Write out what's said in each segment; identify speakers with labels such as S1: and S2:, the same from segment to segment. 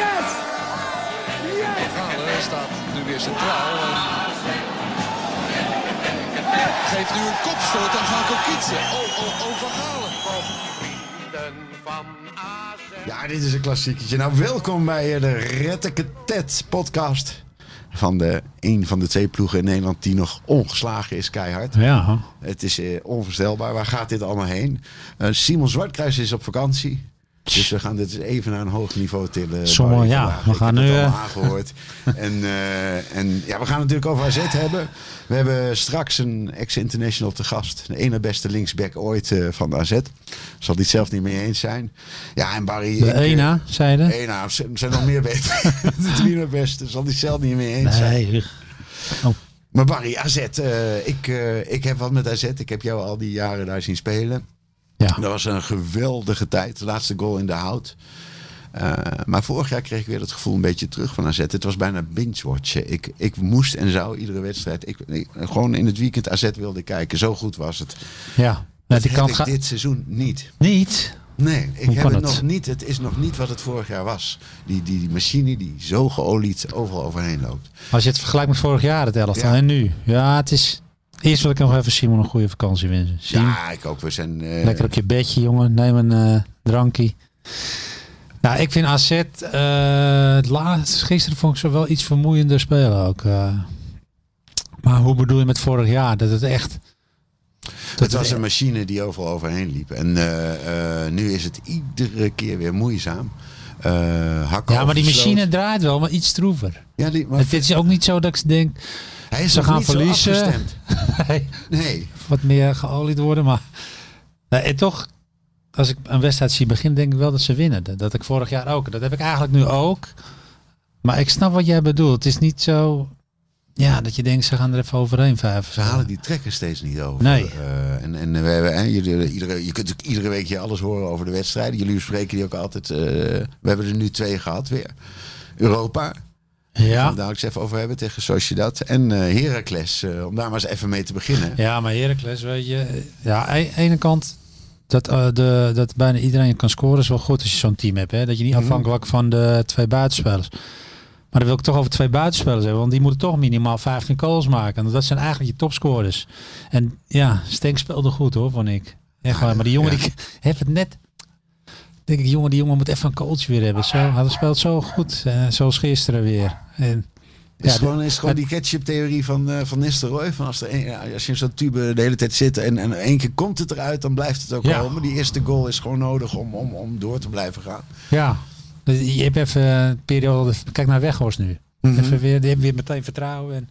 S1: Yes! Yes!
S2: Galen staat nu weer centraal. En... Geeft nu een kopstoot aan Gaco Kietsen. Oh, oh, oh, Van Galen.
S3: Ja, dit is een klassieketje. Nou, welkom bij eh, de Retteketet podcast. Van de een van de twee ploegen in Nederland die nog ongeslagen is, keihard.
S4: Ja,
S3: Het is eh, onvoorstelbaar. Waar gaat dit allemaal heen? Eh, Simon Zwartkruis is op vakantie. Dus we gaan dit even naar een hoog niveau tillen.
S4: Sommige-
S3: Barry
S4: ja,
S3: vandaag.
S4: we
S3: Ik
S4: gaan
S3: heb
S4: nu,
S3: Het allemaal
S4: eh,
S3: aangehoord. en eh, en ja, we gaan het natuurlijk over AZ hebben. We hebben straks een ex-international te gast. De ene beste linksback ooit eh, van de AZ. Zal die het zelf niet mee eens zijn. Ja, en Barry... ik,
S4: de
S3: eh,
S4: ENA, zeiden.
S3: Ena, er zijn- er zijn nog meer beter. de drie naar beste. Zal die zelf niet mee eens zijn.
S4: Nee,
S3: Maar Barry, AZ. eh, ik, eh, ik heb wat met AZ. Ik heb jou al die jaren daar zien spelen.
S4: ja.
S3: Dat was een geweldige tijd. De laatste goal in de hout. Eh, maar vorig jaar kreeg ik weer dat gevoel een beetje terug van AZ. Het was bijna binge-watchen. Ik, ik moest en zou iedere wedstrijd... Ik, ik- gewoon in het weekend AZ wilde kijken. Zo goed was het.
S4: ja.
S3: Dat
S4: Nou, die
S3: heb
S4: kant
S3: ik
S4: gaat
S3: dit seizoen niet.
S4: niet.
S3: Nee, ik
S4: Hoe
S3: heb
S4: kan
S3: het
S4: het?
S3: nog niet. Het is nog niet wat het vorig jaar was. Die, die, die machine die zo geolied overal overheen loopt.
S4: Als je het vergelijkt met vorig jaar, het elftal,
S3: Ja.
S4: en nu. Ja, het is... Eerst wil ik nog even Simon een goede vakantie wensen. Simon,
S3: Ja, ik ook. We zijn. eh,
S4: lekker op je bedje, jongen. Neem een eh, drankie. Nou, ik vind AZ eh, het laatst, gisteren vond ik ze wel iets vermoeiender spelen ook. eh. maar hoe bedoel je met vorig jaar? Dat het echt...
S3: het was een machine die overal overheen liep. En eh, eh, nu is het iedere keer weer moeizaam. Eh, hakken
S4: ja, maar die
S3: over de sloot.
S4: machine draait wel, maar iets stroever.
S3: Ja, die, maar
S4: Het is ook niet zo dat ik denk,
S3: hij is
S4: ze
S3: nog
S4: gaan
S3: niet zo
S4: verliezen.
S3: afgestemd.
S4: hey,
S3: Nee.
S4: wat meer geolied worden. Maar Nee, en toch, als ik een wedstrijd zie beginnen, denk ik wel dat ze winnen. Dat, dat ik vorig jaar ook. Dat heb ik eigenlijk nu ook. Maar ik snap wat jij bedoelt. Het is niet zo ja, dat je denkt, ze gaan er even overheen vijf.
S3: Ze halen die trekken steeds niet over.
S4: Nee.
S3: Eh, en en we hebben, eh, jullie, iedere, je kunt natuurlijk iedere week je alles horen over de wedstrijden. Jullie bespreken die ook altijd. eh, we hebben er nu twee gehad weer. Europa, gaan
S4: Ja.
S3: we dadelijk eens even over hebben tegen Sociedad. En eh Heracles, eh, om daar maar eens even mee te beginnen.
S4: ja, maar Heracles, weet je. Ja, aan de ene kant, dat, eh, de, dat bijna iedereen kan scoren is wel goed als je zo'n team hebt. Hè? Dat je niet afhankelijk van de twee buitenspelers. Maar dan wil ik toch over twee buitenspelers hebben. Want die moeten toch minimaal 15 goals maken. Want dat zijn eigenlijk je topscorers. En ja, Stenk speelde goed hoor, vond ik. Echt waar. Maar die jongen, die heeft het net... Denk ik, jongen, die jongen moet even een coach weer hebben. Zo, hij speelt zo goed. eh, zoals gisteren weer. En,
S3: Is
S4: ja,
S3: gewoon, is gewoon die ketchup-theorie van, eh, van Nistelrooy. Van als, er een, ja, als je in zo'n tube de hele tijd zit en, en één keer komt het eruit, dan blijft het ook
S4: Ja.
S3: komen. Die eerste goal is gewoon nodig om, om, om door te blijven gaan.
S4: Ja, dus je hebt even een periode. Kijk naar Weghorst nu.
S3: Mhm.
S4: Even weer, die hebben weer meteen vertrouwen. En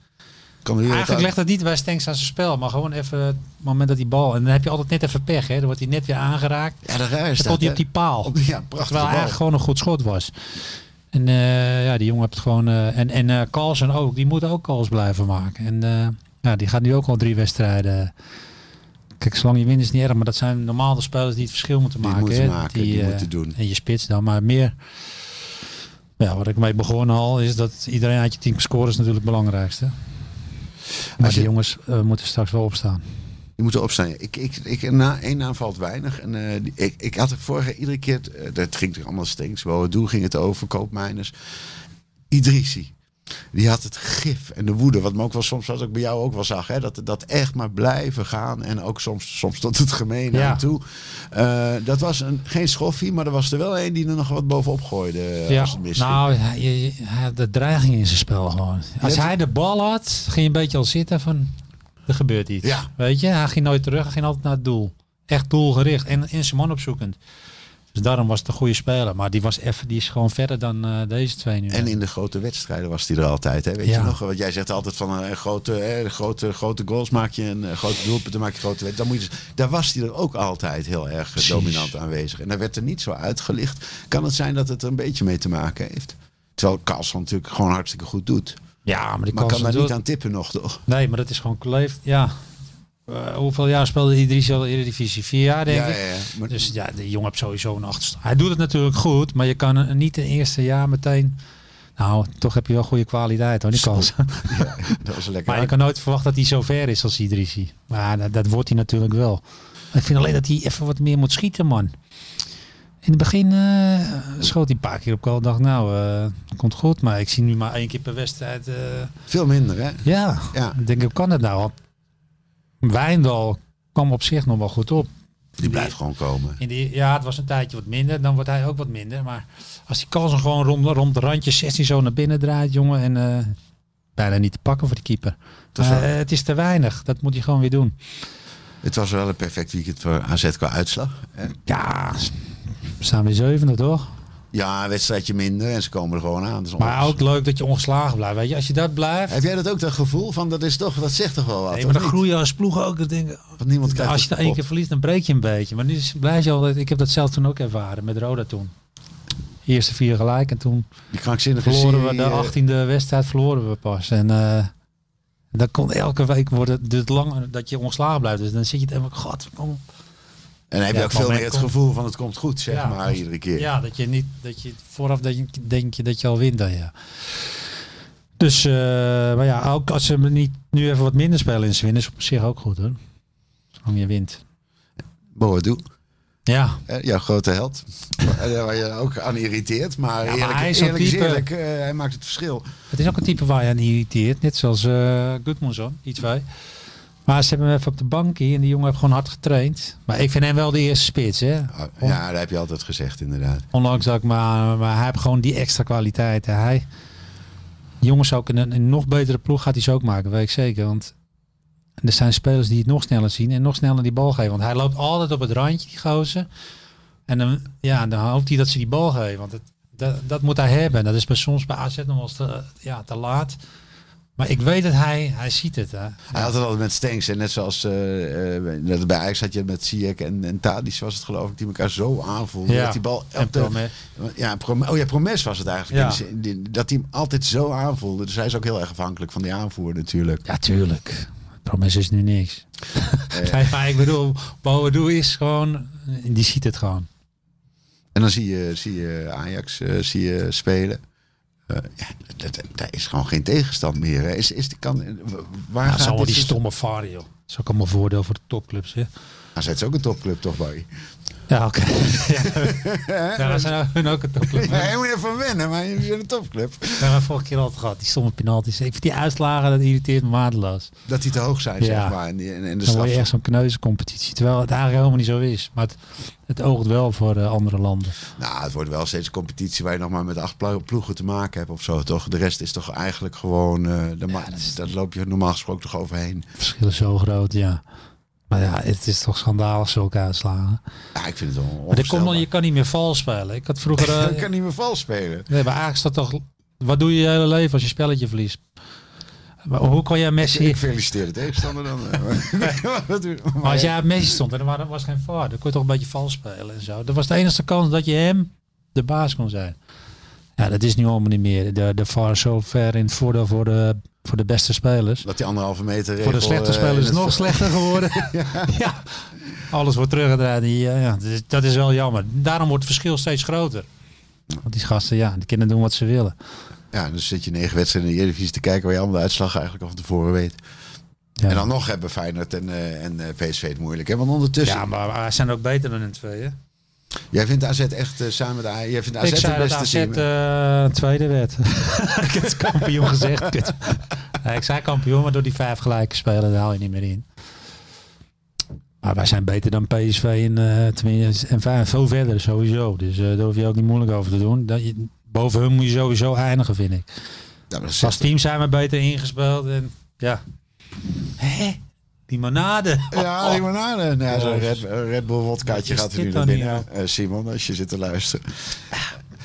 S3: Kan weer
S4: eigenlijk
S3: uit-
S4: legt dat niet bij Stenks aan zijn spel, maar gewoon even het moment dat die bal. En dan heb je altijd net even pech, hè? Dan wordt hij net weer aangeraakt.
S3: Ja, de raar is
S4: Dan komt hij
S3: dat,
S4: op
S3: hè?
S4: die paal.
S3: Op die- ja, prachtige
S4: terwijl hij
S3: bal.
S4: eigenlijk gewoon een goed schot was. En eh, ja, die jongen heeft het gewoon. eh, en en eh Carlsen ook, die moet ook calls blijven maken. En eh, ja, die gaat nu ook al drie wedstrijden. Kijk, zolang je wint is het niet erg, maar dat zijn normaal de spelers die het verschil moeten
S3: Die
S4: maken.
S3: moeten
S4: hè.
S3: maken, die
S4: eh,
S3: moeten doen.
S4: En je spits dan, maar meer. Ja, wat ik mee begonnen al is dat iedereen uit je team scoren is natuurlijk het belangrijkste. Maar
S3: je-
S4: die jongens eh, moeten straks wel opstaan.
S3: Die moeten opstaan. Ik, ik, ik, na één naam valt weinig. En, eh, die- ik, ik had er vorige jaar iedere keer, eh, dat ging toch allemaal stinks. Wel, doel ging het over, koopmijners. Idrissi. Die had het gif en de woede. Wat me ook wel soms, wat ik bij jou ook wel zag. Hè? Dat, dat echt maar blijven gaan. En ook soms, soms tot het gemeen
S4: Ja.
S3: aan toe. Eh, dat was een, geen schoffie, maar er was er wel een die er nog wat bovenop gooide. eh, Als het misging.
S4: nou, hij, je- hij had de dreiging in zijn spel gewoon. Als
S3: hebt-
S4: hij de bal had, ging je een beetje al zitten van, er gebeurt iets.
S3: Ja.
S4: Weet je, hij ging nooit terug, hij ging altijd naar het doel. Echt doelgericht en in zijn man opzoekend. Dus daarom was het een goede speler. Maar die, was even, die is gewoon verder dan eh, deze twee nu.
S3: En in de grote wedstrijden was hij er altijd. Hè? Weet
S4: Ja.
S3: je nog? Want jij zegt altijd van eh, grote, eh, grote, grote goals maak je en eh, grote doelpunten maak je grote wedstrijden. Dan moet je dus- daar was hij er ook altijd heel erg eh,
S4: Precies.
S3: dominant aanwezig. En daar werd er niet zo uitgelicht. Kan het zijn dat het er een beetje mee te maken heeft? Terwijl Carlson natuurlijk gewoon hartstikke goed doet.
S4: Ja, maar
S3: Maar
S4: die kan,
S3: kan
S4: ze
S3: daar niet
S4: door-
S3: aan tippen nog, toch?
S4: Nee, maar dat is gewoon kleef. Ja. Eh, hoeveel jaar speelde Idris al in de divisie? Vier jaar, denk
S3: Ja,
S4: ik.
S3: ja, ja. Maar-
S4: Dus ja, de jongen heeft sowieso een achterstand. Hij doet het natuurlijk goed, maar je kan eh, niet in het eerste jaar meteen... Nou, toch heb je wel goede kwaliteit hoor, die kans.
S3: Dat was lekker.
S4: Maar je kan nooit verwachten dat hij zo ver is als Idrissi. Maar dat, dat wordt hij natuurlijk wel. Ik vind alleen dat hij even wat meer moet schieten, man. In het begin eh, schoot hij een paar keer op goal. dacht, nou, eh komt goed. Maar ik zie nu maar één keer per wedstrijd. eh,
S3: Veel minder, hè?
S4: ja,
S3: Ja.
S4: ik denk, hoe kan het nou? Want Wijndal kwam op zich nog wel goed op.
S3: Die blijft gewoon komen.
S4: In de, ja, het was een tijdje wat minder. Dan wordt hij ook wat minder. Maar als die Carlsen gewoon rond, rond de randje 16 zo naar binnen draait, jongen. En eh, bijna niet te pakken voor de keeper.
S3: Dat is
S4: Maar,
S3: waar.
S4: eh, het is te weinig. Dat moet hij gewoon weer doen.
S3: Het was wel een perfect weekend voor AZ qua uitslag. hè?
S4: Ja, s- we staan weer zevende, toch?
S3: Ja, een wedstrijdje minder en ze komen er gewoon aan. Dat is
S4: Maar
S3: ongeveer-
S4: ook leuk dat je ongeslagen blijft. Weet je, als je dat blijft...
S3: Heb jij dat ook, dat gevoel van dat is toch, dat zegt toch wel wat?
S4: Nee, maar dan
S3: of niet?
S4: groei je als ploeg ook. Dat denk ik, Oh,
S3: Want niemand krijgt
S4: als je
S3: het
S4: dan één keer
S3: kapot.
S4: verliest, dan breek je een beetje. Maar nu is- blijf je altijd... Ik heb dat zelf toen ook ervaren met Roda toen. Eerste vier gelijk en toen
S3: Die krankzinnige
S4: verloren we
S3: serie,
S4: de
S3: eh,
S4: 18e wedstrijd verloren we pas. En eh dan kon elke week worden het duurt langer dat je ongeslagen blijft. Dus dan zit je het helemaal, god, kom op.
S3: En dan heb je
S4: Ja,
S3: ook
S4: het
S3: veel meer
S4: moment
S3: het
S4: komt.
S3: gevoel van het komt goed, zeg
S4: Ja,
S3: maar,
S4: klopt.
S3: iedere keer.
S4: Ja, dat je niet, dat je vooraf denk, denk je dat je al wint dan, ja. Dus, eh, maar ja, ook als ze niet nu even wat minder spelen in ze winnen, is op zich ook goed hoor. Zolang je wint.
S3: Boadu,
S4: Ja,
S3: hè, jouw grote held. Eh, Waar je ook aan irriteert, maar, eerlijk,
S4: hij is zo'n
S3: eerlijk is
S4: type.
S3: eerlijk, eh, hij maakt het verschil.
S4: Het is ook een type waar je aan irriteert. Net zoals eh Gudmundsson, iets wij. Maar ze hebben hem even op de bank hier. En die jongen heeft gewoon hard getraind. Maar ik vind hem wel de eerste spits. Hè?
S3: Ah,
S4: On-
S3: Ja, dat heb je altijd gezegd, inderdaad.
S4: Ondanks dat ik maar, maar hij heeft gewoon die extra kwaliteit. En Hij, die jongens ook in een, in een nog betere ploeg gaat hij ze ook maken. Weet ik zeker. Want er zijn spelers die het nog sneller zien. En nog sneller die bal geven. Want hij loopt altijd op het randje, die gozer. En dan, ja, dan hoopt hij dat ze die bal geven. Want het, dat, dat moet hij hebben. Dat is bij, soms bij AZ nog wel eens te, ja, te laat. Maar ik weet dat hij, hij ziet het. Hè.
S3: Hij had het altijd met Stenks. En net zoals eh, eh, net bij Ajax had je het met Ziyech en, en Tadic was het geloof ik. Die elkaar zo aanvoelden.
S4: Ja,
S3: Dat die bal
S4: en
S3: op de-
S4: Promes.
S3: ja, Promes. Oh ja, Promes was het eigenlijk.
S4: Ja.
S3: In die- Dat hij hem altijd zo aanvoelde. Dus hij is ook heel erg afhankelijk van die aanvoer natuurlijk.
S4: Ja, tuurlijk. Promes is nu niks. Nee, maar ik bedoel, Boadu is gewoon... Die ziet het gewoon.
S3: En dan zie je, zie je Ajax eh, zie je spelen. Eh, ja, dat- dat- daar is gewoon geen tegenstand meer. hè. Is, is die kan, waar
S4: Ja,
S3: gaat
S4: dat is
S3: dit
S4: allemaal
S3: dus-
S4: die
S3: seizoen-
S4: stomme VAR, joh. Dat is ook allemaal voordeel voor de topclubs, hè?
S3: AZ Ah, is ook een topclub toch, Barry?
S4: Ja, oké. ja, ja, dat zijn hun ook een topclub.
S3: Ja, je moet even wennen, maar je bent een topclub.
S4: We hebben vorige keer altijd gehad, die stomme penalties. Ik vind die uitslagen, dat irriteert me waardeloos.
S3: Dat die te hoog zijn,
S4: Ja.
S3: zeg maar. En, die- en, en de
S4: Dan word je
S3: straf-
S4: echt zo'n kneuzencompetitie. Terwijl het eigenlijk helemaal niet zo is. Maar het, het oogt wel voor eh, andere landen.
S3: Nou, het wordt wel steeds een competitie waar je nog maar met acht plo- ploegen te maken hebt of zo, toch? De rest is toch eigenlijk gewoon... eh de ma-
S4: dat
S3: dat,
S4: is-
S3: loop je normaal gesproken toch overheen.
S4: Het verschil is zo groot, ja. Maar ja, het is toch schandalig zulke uitslagen.
S3: Ja, ik vind het wel
S4: Maar er komt
S3: onvoorstelbaar.
S4: nog, je kan niet meer vals spelen. Ik had vroeger... eh,
S3: Je kan niet meer vals spelen.
S4: Nee, maar eigenlijk is dat toch... Wat doe je je hele leven als je spelletje verliest? Maar hoe kon jij Messi...
S3: Ik feliciteer de tegenstander dan. eh, maar- Wat doe-
S4: Maar als jij op Messi stond en er waren- was geen VAR, dan kon je toch een beetje vals spelen en zo. Dat was de enige kans dat je hem de baas kon zijn. Ja, dat is nu allemaal niet meer. De, de VAR is zo ver in het voordeel voor de, voor de beste spelers.
S3: Dat die anderhalve meter regel,
S4: Voor de slechte
S3: eh,
S4: spelers is
S3: in
S4: het nog
S3: het-
S4: slechter geworden. ja. alles wordt teruggedraaid. eh, Ja, ja, dat is- dat is wel jammer. Daarom wordt het verschil steeds groter. Want die gasten, ja, die kunnen doen wat ze willen.
S3: Ja, dus zit je negen wedstrijden in de Eredivisie te kijken... waar je allemaal de uitslag eigenlijk al van tevoren weet.
S4: Ja.
S3: En dan nog hebben Feyenoord en, eh, en eh, PSV het moeilijk. Hè? Want ondertussen...
S4: ja, maar wij zijn ook beter dan in tweeën.
S3: Jij vindt AZ echt eh, samen met de Ajax... Jij vindt AZ
S4: Ik zei
S3: het
S4: dat
S3: beste
S4: AZ
S3: team.
S4: eh, tweede werd. ik heb het kampioen gezegd. Kut. Nee, ik zei kampioen, maar door die vijf gelijke spelen daar haal je niet meer in. Maar wij zijn beter dan PSV en, eh tenminste, en Feyenoord. Veel verder sowieso. Dus eh, daar hoef je ook niet moeilijk over te doen. Dat je, boven hun moet je sowieso eindigen, vind ik.
S3: Ja, maar dat is
S4: Als team zijn we beter ingespeeld. En, ja. Hé? Die manade.
S3: Ja, die banaan. Nou, zo'n
S4: Oh.
S3: Red, Red Bull wodkaatje
S4: Wat is
S3: gaat er
S4: dit
S3: nu naar
S4: dan
S3: binnen.
S4: nou?
S3: Eh, Simon, als je zit te luisteren.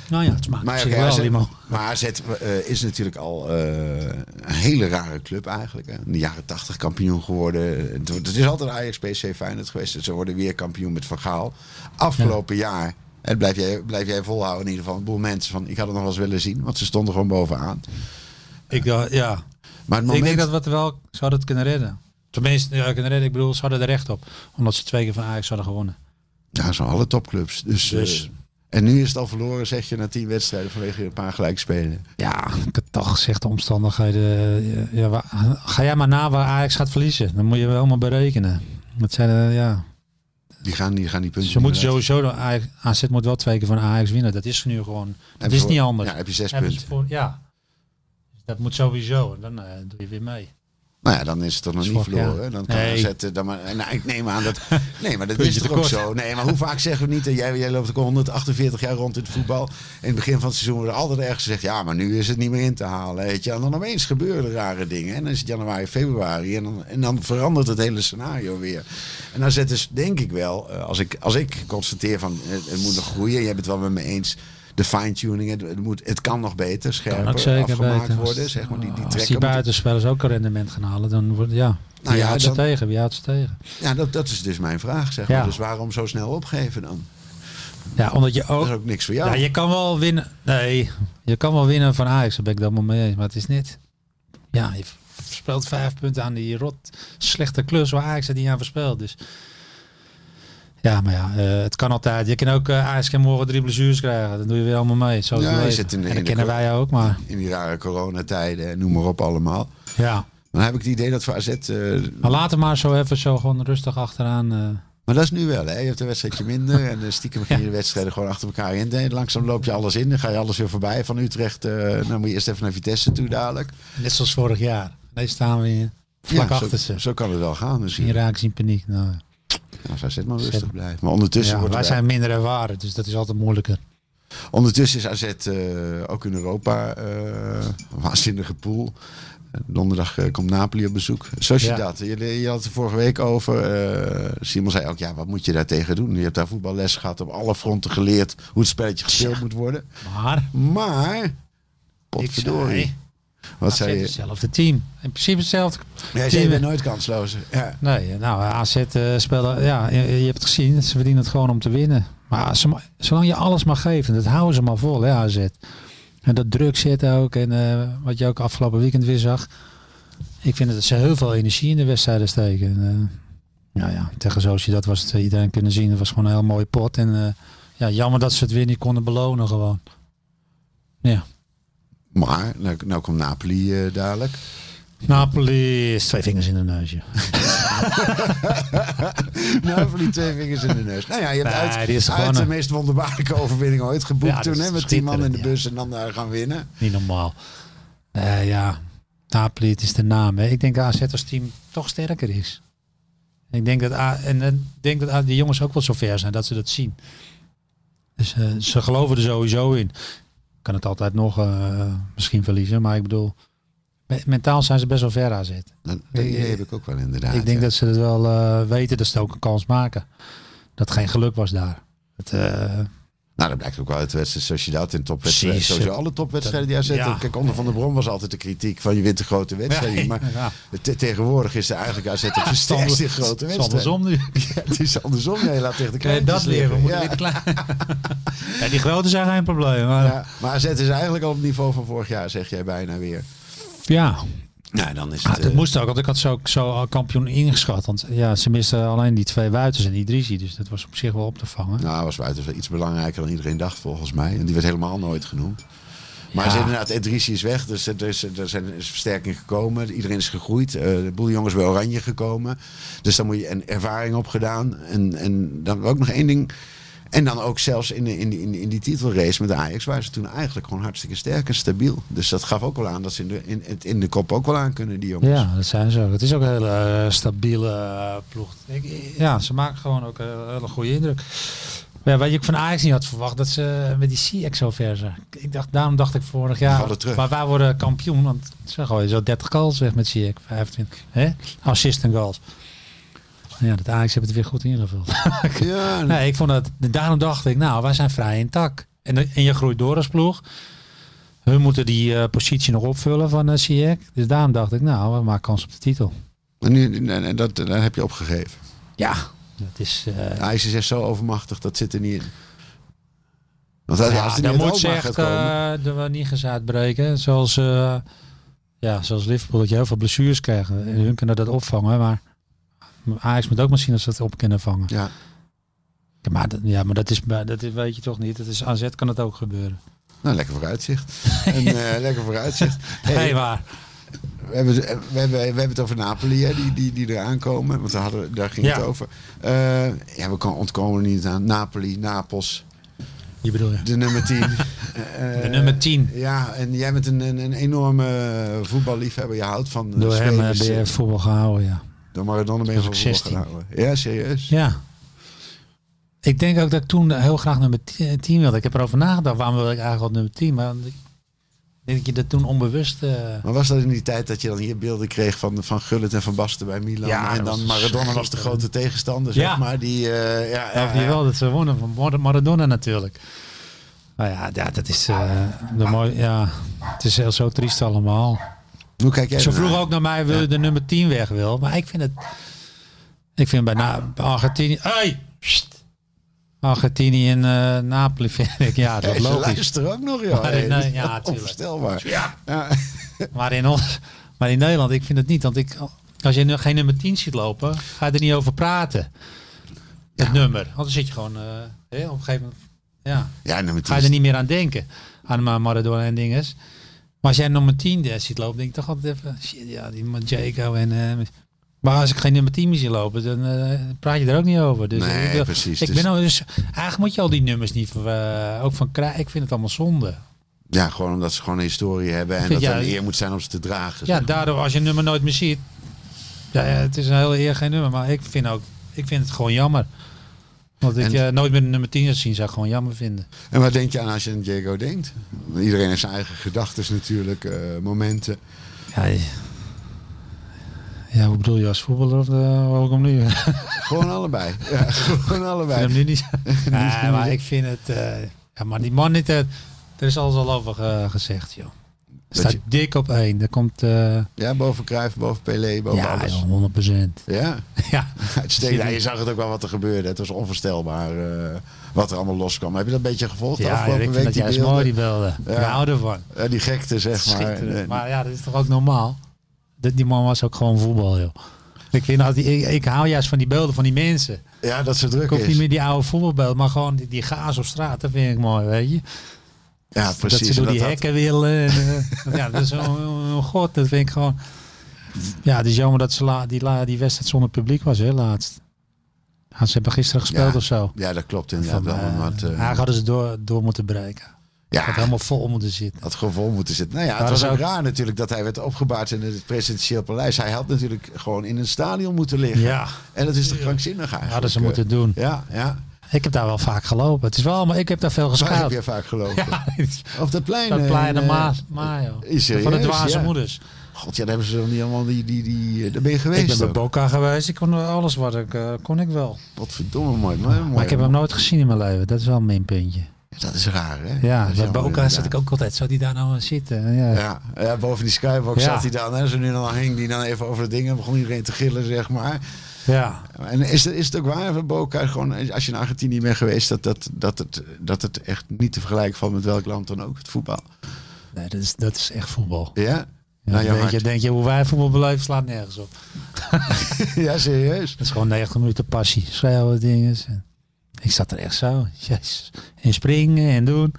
S4: Nou ja, het
S3: Maar,
S4: smaakt maar,
S3: ja,
S4: zich
S3: kijk,
S4: wel,
S3: AZ
S4: Rimo.
S3: maar AZ eh, is natuurlijk al eh, een hele rare club eigenlijk. Hè. In de jaren tachtig kampioen geworden. Het wordt- Het is altijd Ajax, PSV, Feyenoord geweest. Ze worden weer kampioen met Van Gaal. Afgelopen jaar En dat blijf jij, blijf jij volhouden in ieder geval. Een boel mensen van, ik had het nog wel eens willen zien. Want ze stonden gewoon bovenaan.
S4: Ik, dacht- ja.
S3: Maar het
S4: ik
S3: moment...
S4: denk dat we het wel, ze hadden het kunnen redden. Tenminste, ja, kunnen redden. Ik bedoel, ze hadden er recht op. Omdat ze twee keer van Ajax hadden gewonnen.
S3: Ja, zo alle topclubs. Dus,
S4: Dus.
S3: eh, en nu is het al verloren, zeg je, na tien wedstrijden vanwege een paar gelijkspelen.
S4: Ja, ik had toch zegt de omstandigheden. eh, Ja, wa- ga jij maar na waar Ajax gaat verliezen. Dan moet je wel maar berekenen. Dat zijn, eh, ja.
S3: Die gaan, die gaan die punten...
S4: Ze moeten
S3: inderdaad-
S4: sowieso, de Ajax, AZ moet wel twee keer van Ajax winnen. Dat is nu gewoon,
S3: Heb
S4: dat
S3: je
S4: is
S3: voor-
S4: niet anders.
S3: Ja, heb je zes
S4: Hebben ze
S3: punten.
S4: voor- ja. Dus Dat moet sowieso. En dan eh, doe je weer mee.
S3: Nou ja, dan is het toch nog niet
S4: Zwak, ja.
S3: verloren. Dan kan
S4: Nee.
S3: AZ, eh, dan maar, nou, ik neem aan dat... Nee, maar dat
S4: Puntje
S3: is toch ook
S4: tekort.
S3: zo? Nee, maar hoe vaak zeggen we niet... dat jij, jij loopt ook al 148 jaar rond in het voetbal. In het begin van het seizoen wordt er altijd ergens gezegd... ja, maar nu is het niet meer in te halen. Weet je. En dan opeens gebeuren er rare dingen. En dan is het januari, februari. En dan, en dan verandert het hele scenario weer. En dan zet dus, denk ik wel... eh, als, ik, als ik constateer van eh, het moet nog groeien... jij bent het wel met me eens... De fine-tuning, het, het moet, het kan nog beter,
S4: Kan
S3: scherper
S4: ook zeker
S3: afgemaakt
S4: beter.
S3: worden. Zeg maar, die, die
S4: Ah, Als
S3: trekken
S4: die
S3: moeten-
S4: buitenspelers ook een rendement gaan halen, dan wordt ja. Wie
S3: Nou ja,
S4: houdt ze
S3: dan-
S4: tegen? Wie houdt ze tegen?
S3: Ja, dat, dat is dus mijn vraag. Zeg
S4: Ja.
S3: maar. Dus waarom zo snel opgeven dan?
S4: Ja, omdat je
S3: Dat
S4: ook.
S3: is ook niks voor jou.
S4: Ja, je kan wel winnen. Nee, je kan wel winnen van Ajax. Daar ben ik dan wel mee eens. Maar het is niet. Ja, je verspeelt vijf punten aan die rot slechte klus waar Ajax het niet aan verspeelt. Dus. Ja, maar ja, eh, het kan altijd. Je kan ook eh, Ajax kan morgen drie blessures krijgen. Dan doe je weer allemaal mee. Zo is
S3: Ja,
S4: het
S3: je
S4: leven.
S3: zit in de-
S4: en
S3: in
S4: dat
S3: de
S4: kennen
S3: kor-
S4: wij ook, maar
S3: In die rare coronatijden, en noem maar op allemaal.
S4: ja.
S3: Dan heb ik het idee dat voor AZ... eh,
S4: Maar later maar zo even zo gewoon rustig achteraan. eh,
S3: maar dat is nu wel, hè? Je hebt een wedstrijdje minder en eh, stiekem begin je de wedstrijden gewoon achter elkaar in. Nee, langzaam loop je alles in, dan ga je alles weer voorbij. Van Utrecht, eh dan moet je eerst even naar Vitesse toe dadelijk.
S4: net zoals vorig jaar. Nee, staan we hier vlak
S3: Ja, zo-
S4: achter ze.
S3: Zo kan het wel gaan dus
S4: Zien
S3: misschien.
S4: raak, zien paniek. Nou,
S3: Ja, als AZ maar rustig
S4: Zetten.
S3: blijft. Maar ondertussen,
S4: ja,
S3: wordt
S4: wij
S3: er-
S4: zijn minder ervaren, dus dat is altijd moeilijker.
S3: ondertussen is AZ eh, ook in Europa eh een waanzinnige pool. Donderdag eh, komt Napoli op bezoek. Sociedad, je, je had het er vorige week over. eh, Simon zei ook, ja, wat moet je daar tegen doen? Je hebt daar voetballes gehad, op alle fronten geleerd hoe het spelletje gespeeld moet worden.
S4: Maar
S3: Maar,
S4: ik
S3: potverdorie.
S4: zei,
S3: Wat
S4: AZ
S3: zei
S4: is
S3: je?
S4: hetzelfde team. In principe hetzelfde
S3: Jij zei, je bent nooit kansloos. Ja.
S4: Nee, nou AZ eh, speelde, ja, je, je hebt het gezien, ze verdienen het gewoon om te winnen. Maar ze ma- zolang je alles mag geven, dat houden ze maar vol, hè AZ. En dat druk zit ook, en eh, wat je ook afgelopen weekend weer zag. Ik vind dat ze heel veel energie in de wedstrijden steken. En, eh, nou ja, tegen Sociedad was het eh, iedereen kunnen zien, het was gewoon een heel mooie pot. En eh, ja, jammer dat ze het weer niet konden belonen gewoon. Ja.
S3: Maar, nou, nou komt Napoli eh, dadelijk.
S4: Napoli is twee vingers in de neus. joh.
S3: Napoli Nou, twee vingers in de neus. Nou ja, je hebt
S4: Nee,
S3: uit,
S4: die is
S3: uit
S4: gewonnen.
S3: de meest wonderbaarlijke overwinning ooit geboekt
S4: Ja, dat
S3: toen.
S4: is
S3: Hè, met tien man in de
S4: schitterend,
S3: bus en dan daar gaan winnen.
S4: Niet normaal. Nee, ja, Napoli, het is de naam. Hè. Ik denk dat AZ als team toch sterker is. Ik denk dat, A- en, en ik denk dat A- die jongens ook wel zover zijn dat ze dat zien. Dus eh, ze geloven er sowieso in. Kan het altijd nog eh, misschien verliezen, maar ik bedoel, me- mentaal zijn ze best wel ver AZ.
S3: Dat, dat idee heb ik ook wel inderdaad.
S4: ik denk
S3: ja.
S4: dat ze het wel eh, weten dat ze ook een kans maken. Dat geen geluk was daar. Het, eh,
S3: Nou, dat blijkt ook wel uit wedstrijden zoals je dat in topwedstrijden.
S4: Precies.
S3: Sowieso alle topwedstrijden die hij zet.
S4: Ja.
S3: Kijk, onder Van der Bron was altijd de kritiek van je wint de grote wedstrijd.
S4: Ja.
S3: Maar
S4: Ja.
S3: te- tegenwoordig is er eigenlijk AZ het versterkt in grote
S4: het is
S3: wedstrijden.
S4: andersom nu.
S3: Ja, het is andersom. Nee, laat tegen de
S4: Kun je dat
S3: kleintjes
S4: leren? We
S3: liggen.
S4: moeten
S3: Ja.
S4: weer de klein. ja, die grote zijn geen probleem. Maar ja.
S3: Ja, maar AZ is eigenlijk al op het niveau van vorig jaar, zeg jij bijna weer. Nou, dan is
S4: Ah,
S3: het...
S4: dat
S3: eh,
S4: moest ook, want ik had ze ook zo al kampioen ingeschat. Want ja, ze misten alleen die twee buitens en die Idrisi. Dus dat was op zich wel op te vangen.
S3: nou, was Wouters wel iets belangrijker dan iedereen dacht, volgens mij. En die werd helemaal nooit genoemd. Maar
S4: Ja.
S3: ze inderdaad, Edrissi is weg, dus er is, er zijn, er is versterking gekomen. Iedereen is gegroeid. Eh de boel jongens bij Oranje gekomen. Dus dan moet je een ervaring opgedaan. En, en dan ook nog één ding. En dan ook zelfs in, de- in, die- in, die- in die titelrace met de Ajax waren ze toen eigenlijk gewoon hartstikke sterk en stabiel. Dus dat gaf ook wel aan dat ze in de, in, in- in de kop ook wel aan kunnen, die jongens.
S4: Ja, dat zijn ze ook. Het is ook een hele eh, stabiele eh, ploeg. Ik- eh, ja, ze maken gewoon ook eh, een hele goede indruk. Maar ja, wat ik van Ajax niet had verwacht, dat ze met die CX zo ver zijn. Ik dacht, daarom dacht ik vorig jaar,
S3: vallen terug.
S4: maar wij worden kampioen. Want ze gooien zo 30 goals weg met CX, 25. Hè? Assist en goals. Ja, dat Ajax heeft het weer goed ingevuld.
S3: Ja,
S4: Nee, ik vond dat, daarom dacht ik, nou, wij zijn vrij intact. En, en je groeit door als ploeg. Hun moeten die eh, positie nog opvullen van eh Ziyech. Dus daarom dacht ik, nou, we maken kans op de titel.
S3: en nu, en- en dat, dat heb je opgegeven.
S4: Ja. Dat is, eh,
S3: Ajax is echt zo overmachtig, dat zit er niet in. Want als, als
S4: Ja,
S3: er
S4: dan
S3: niet uit
S4: moet
S3: Alkmaar
S4: ze echt
S3: gaat komen...
S4: eh, de Wanigas uitbreken. Zoals, eh, ja, zoals Liverpool, dat je heel veel blessures krijgt. En hun kunnen dat opvangen, maar Ajax moet ook maar zien of ze dat op kunnen vangen.
S3: ja.
S4: Ja, maar, dat, ja, maar dat, is, bij- dat is- weet je toch niet. Dat is, AZ kan het ook gebeuren.
S3: Nou, lekker vooruitzicht. Een eh, lekker vooruitzicht. Hey,
S4: Nee, waar.
S3: we, hebben, we, hebben, we hebben het over Napoli, hè, die, die, die eraan komen. Want daar, hadden, daar ging
S4: Ja.
S3: het over. Eh, ja, we kan- ontkomen er niet aan. Napoli, Napels,
S4: Je bedoel je.
S3: de nummer 10.
S4: De nummer 10.
S3: Ja, en jij bent een, een, een enorme eh, voetballiefhebber. Je houdt van eh,
S4: Door hem eh,
S3: spelers,
S4: ben je
S3: eh,
S4: voetbal gehouden, ja.
S3: Door Maradona ben je
S4: Toen
S3: van
S4: was
S3: voetbal
S4: ik
S3: gaan houden. Ja, serieus?
S4: Ja. Ik denk ook dat ik toen heel graag nummer 10 wilde. Ik heb erover nagedacht, waarom wil ik eigenlijk al nummer 10? Maar ik denk dat je dat toen onbewust... eh,
S3: Maar was dat in die tijd dat je dan hier beelden kreeg van, van Gullit en van Basten bij Milan?
S4: Ja,
S3: en
S4: dat
S3: dan
S4: was
S3: Maradona was de grote tegenstander,
S4: Ja.
S3: zeg maar. Die, eh, ja,
S4: Ja,
S3: ja,
S4: je
S3: ja.
S4: wel dat ze wonnen van Mar- Maradona natuurlijk. Nou ja, ja dat is eh, de mooi. Ja, het is heel zo triest allemaal.
S3: Hoe kijk jij
S4: Ze
S3: ernaar?
S4: vroegen ook naar mij wil je de nummer 10 weg wil, maar ik vind het. Ik vind bij, Na- bij Argentinië. Hey! Sst! Argentinië en eh, Napoli vind ik ja, dat
S3: Hey,
S4: is
S3: ze
S4: logisch.
S3: luisteren ook nog, joh.
S4: Maar
S3: Hey,
S4: nee,
S3: dat is
S4: ja, tuurlijk.
S3: onvoorstelbaar. Ja.
S4: Maar in, ons, maar in Nederland, ik vind het niet, want ik, als je nu geen nummer 10 ziet lopen, ga je er niet over praten. Het nummer, anders zit je gewoon eh, hè, op een gegeven moment. Ja.
S3: Ja, nummer 10.
S4: ga je er niet meer aan denken. Aan Ma- Maradona en dinges. Maar als jij nummer 10 daar ziet lopen, denk ik toch altijd even... Shit, ja, die man Jaco en... eh, maar als ik geen nummer 10 meer zie lopen, dan eh, praat je er ook niet over. Dus
S3: Nee,
S4: ik wil-
S3: precies,
S4: Ik
S3: dus-
S4: ben al, dus eigenlijk moet je al die nummers niet... ver- eh, ook van Krij, ik vind het allemaal zonde.
S3: Ja, gewoon omdat ze gewoon een historie hebben en dat
S4: vind-
S3: het
S4: ja,
S3: een eer moet zijn om ze te dragen.
S4: Ja,
S3: zeg.
S4: daardoor als je een nummer nooit meer ziet... Ja, ja, het is een hele eer geen nummer, maar ik vind, ook, ik vind het gewoon jammer. Want ik
S3: En-
S4: eh, nooit meer een nummer 10 zou zien, zou ik gewoon jammer vinden.
S3: En wat denk je aan als je aan Diego denkt? Want Iedereen heeft zijn eigen gedachten natuurlijk, eh, momenten.
S4: Ja, je- ja, hoe bedoel je als voetballer of eh, ook om nu? Ik vind
S3: Gewoon allebei. Ja, gewoon
S4: hem
S3: allebei.
S4: nu niet. nee, maar ik vind het. eh, ja, maar die man niet. eh, er is alles al over eh, gezegd, joh. Staat
S3: je-
S4: dik op één. Er komt. eh,
S3: Ja, boven Cruijff, boven Pelé, boven
S4: ja,
S3: alles.
S4: joh, 100
S3: Ja,
S4: ja.
S3: uitstekend. Ja, je zag het ook wel wat er gebeurde. Het was onvoorstelbaar eh, wat er allemaal loskwam. Heb je dat een beetje gevolgd de
S4: Ja, ik
S3: afgelopen
S4: vind
S3: week?
S4: dat
S3: die,
S4: juist
S3: beelden?
S4: mooi, die beelden.
S3: Ja.
S4: Ik hou ervan.
S3: Ja, die gekte, zeg maar.
S4: Schitterend.
S3: Eh,
S4: Maar ja, dat is toch ook normaal? Dat, die man was ook gewoon voetbal, joh. Ik, vind, dat die- ik, ik hou juist van die beelden van die mensen.
S3: Ja, dat ze druk
S4: Ik hoef niet
S3: is.
S4: meer die oude voetbalbeeld, maar gewoon die, die gaas op straat, dat vind ik mooi, weet je.
S3: Ja, precies.
S4: dat ze door
S3: En
S4: die
S3: dat-
S4: hekken willen. En, eh, ja, dat is een, een god. Dat vind ik gewoon... Ja, het is jammer dat ze la, die, la, die wedstrijd zonder publiek was, hè, laatst. Ja, ze hebben gisteren gespeeld
S3: Ja.
S4: of zo.
S3: Ja, dat klopt
S4: Van,
S3: inderdaad. wel,
S4: eh,
S3: want, eh, Ah.
S4: Haag hadden ze door, door moeten breken. Had
S3: ja,
S4: helemaal vol moeten zitten.
S3: had gewoon vol moeten zitten. Nou ja, het
S4: Maar
S3: was
S4: dat
S3: ook
S4: is ook-
S3: raar natuurlijk dat hij werd opgebaard in het presidentieel paleis. Hij had natuurlijk gewoon in een stadion moeten liggen.
S4: Ja,
S3: En dat is toch krankzinnig eigenlijk.
S4: hadden ze
S3: eh.
S4: moeten doen.
S3: Ja, ja.
S4: Ik heb daar wel vaak gelopen. Het is wel, maar ik heb daar veel
S3: Waar heb
S4: geschaald.
S3: je vaak gelopen?
S4: Ja,
S3: Op dat plein.
S4: dat
S3: eh,
S4: plein de
S3: eh,
S4: Maas, Ma, joh.
S3: Is
S4: Van de
S3: serieus,
S4: dwaze
S3: ja.
S4: moeders.
S3: God, ja, daar hebben ze dan niet allemaal die... die, die daar ben je
S4: Ik ben
S3: geweest
S4: bij
S3: ook.
S4: Boca geweest. Ik kon alles wat ik eh, kon ik wel.
S3: Wat verdomme mooi. mooi, mooi.
S4: Maar ik heb hem nooit gezien in mijn leven. Dat is wel een minpuntje.
S3: Dat is raar, hè?
S4: Ja, bij
S3: jammer,
S4: Boca zat
S3: inderdaad.
S4: ik ook altijd. Zou die daar nou aan zitten? Ja.
S3: Ja, ja, boven die skywalk
S4: Ja.
S3: zat hij dan. En zo nu en dan hing die dan even over de dingen. Begon iedereen te gillen, zeg maar.
S4: ja.
S3: En is, het- is het ook waar van Boca, gewoon, als je in Argentinië bent geweest, dat, dat, dat, het, dat het echt niet te vergelijken valt met welk land dan ook, het voetbal?
S4: Nee, dat is, dat is echt voetbal.
S3: Ja?
S4: Ja,
S3: Nou, jouw
S4: denk, je,
S3: hart.
S4: denk je, hoe wij voetbal beleven slaat nergens op.
S3: ja, serieus?
S4: Dat is gewoon 90 minuten passie. Schreeuwen, dingen. En Ik zat er echt zo. Jezus. En springen en doen.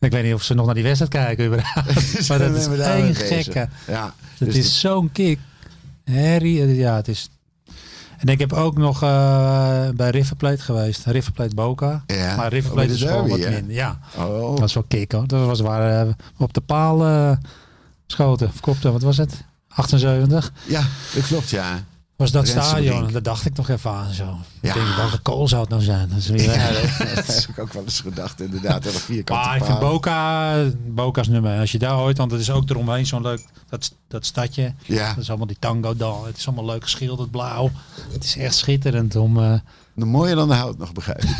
S4: Ik weet niet of ze nog naar die wedstrijd kijken überhaupt. maar
S3: Dan
S4: dat is
S3: zijn we daarmee
S4: één
S3: bezig.
S4: gekke.
S3: Ja,
S4: Het
S3: dus
S4: is zo'n kick. Harry, eh, ja, het is... En ik heb ook nog eh, bij River Plate geweest. River Plate Boca.
S3: Ja,
S4: Maar River
S3: oh, bij
S4: Plate
S3: de
S4: is gewoon wat
S3: derby, hè?
S4: minder. Ja.
S3: dat- oh,
S4: Dat was wel kick hoor. Dat was waar eh, we op de paal eh, schoten, of kopten. Wat was het? 78?
S3: ja, dat klopt, ja.
S4: Was dat
S3: Rensenbrink.
S4: stadion? Daar dacht ik nog even aan zo.
S3: Ja.
S4: Ik denk, welke kool zou het nou zijn? Dat is weer,
S3: Ja, dat, dat is ook wel eens gedacht, inderdaad. Dat vierkante
S4: maar Ah, ik
S3: paal.
S4: vind Boca, Boca's nummer. Als je daar ooit, want het is ook eromheen zo'n leuk, dat, dat stadje.
S3: Ja.
S4: Dat is allemaal die tango dan. Het is allemaal leuk geschilderd blauw. Het is echt schitterend om, eh,
S3: nog mooier dan de hout nog, begrijp ik.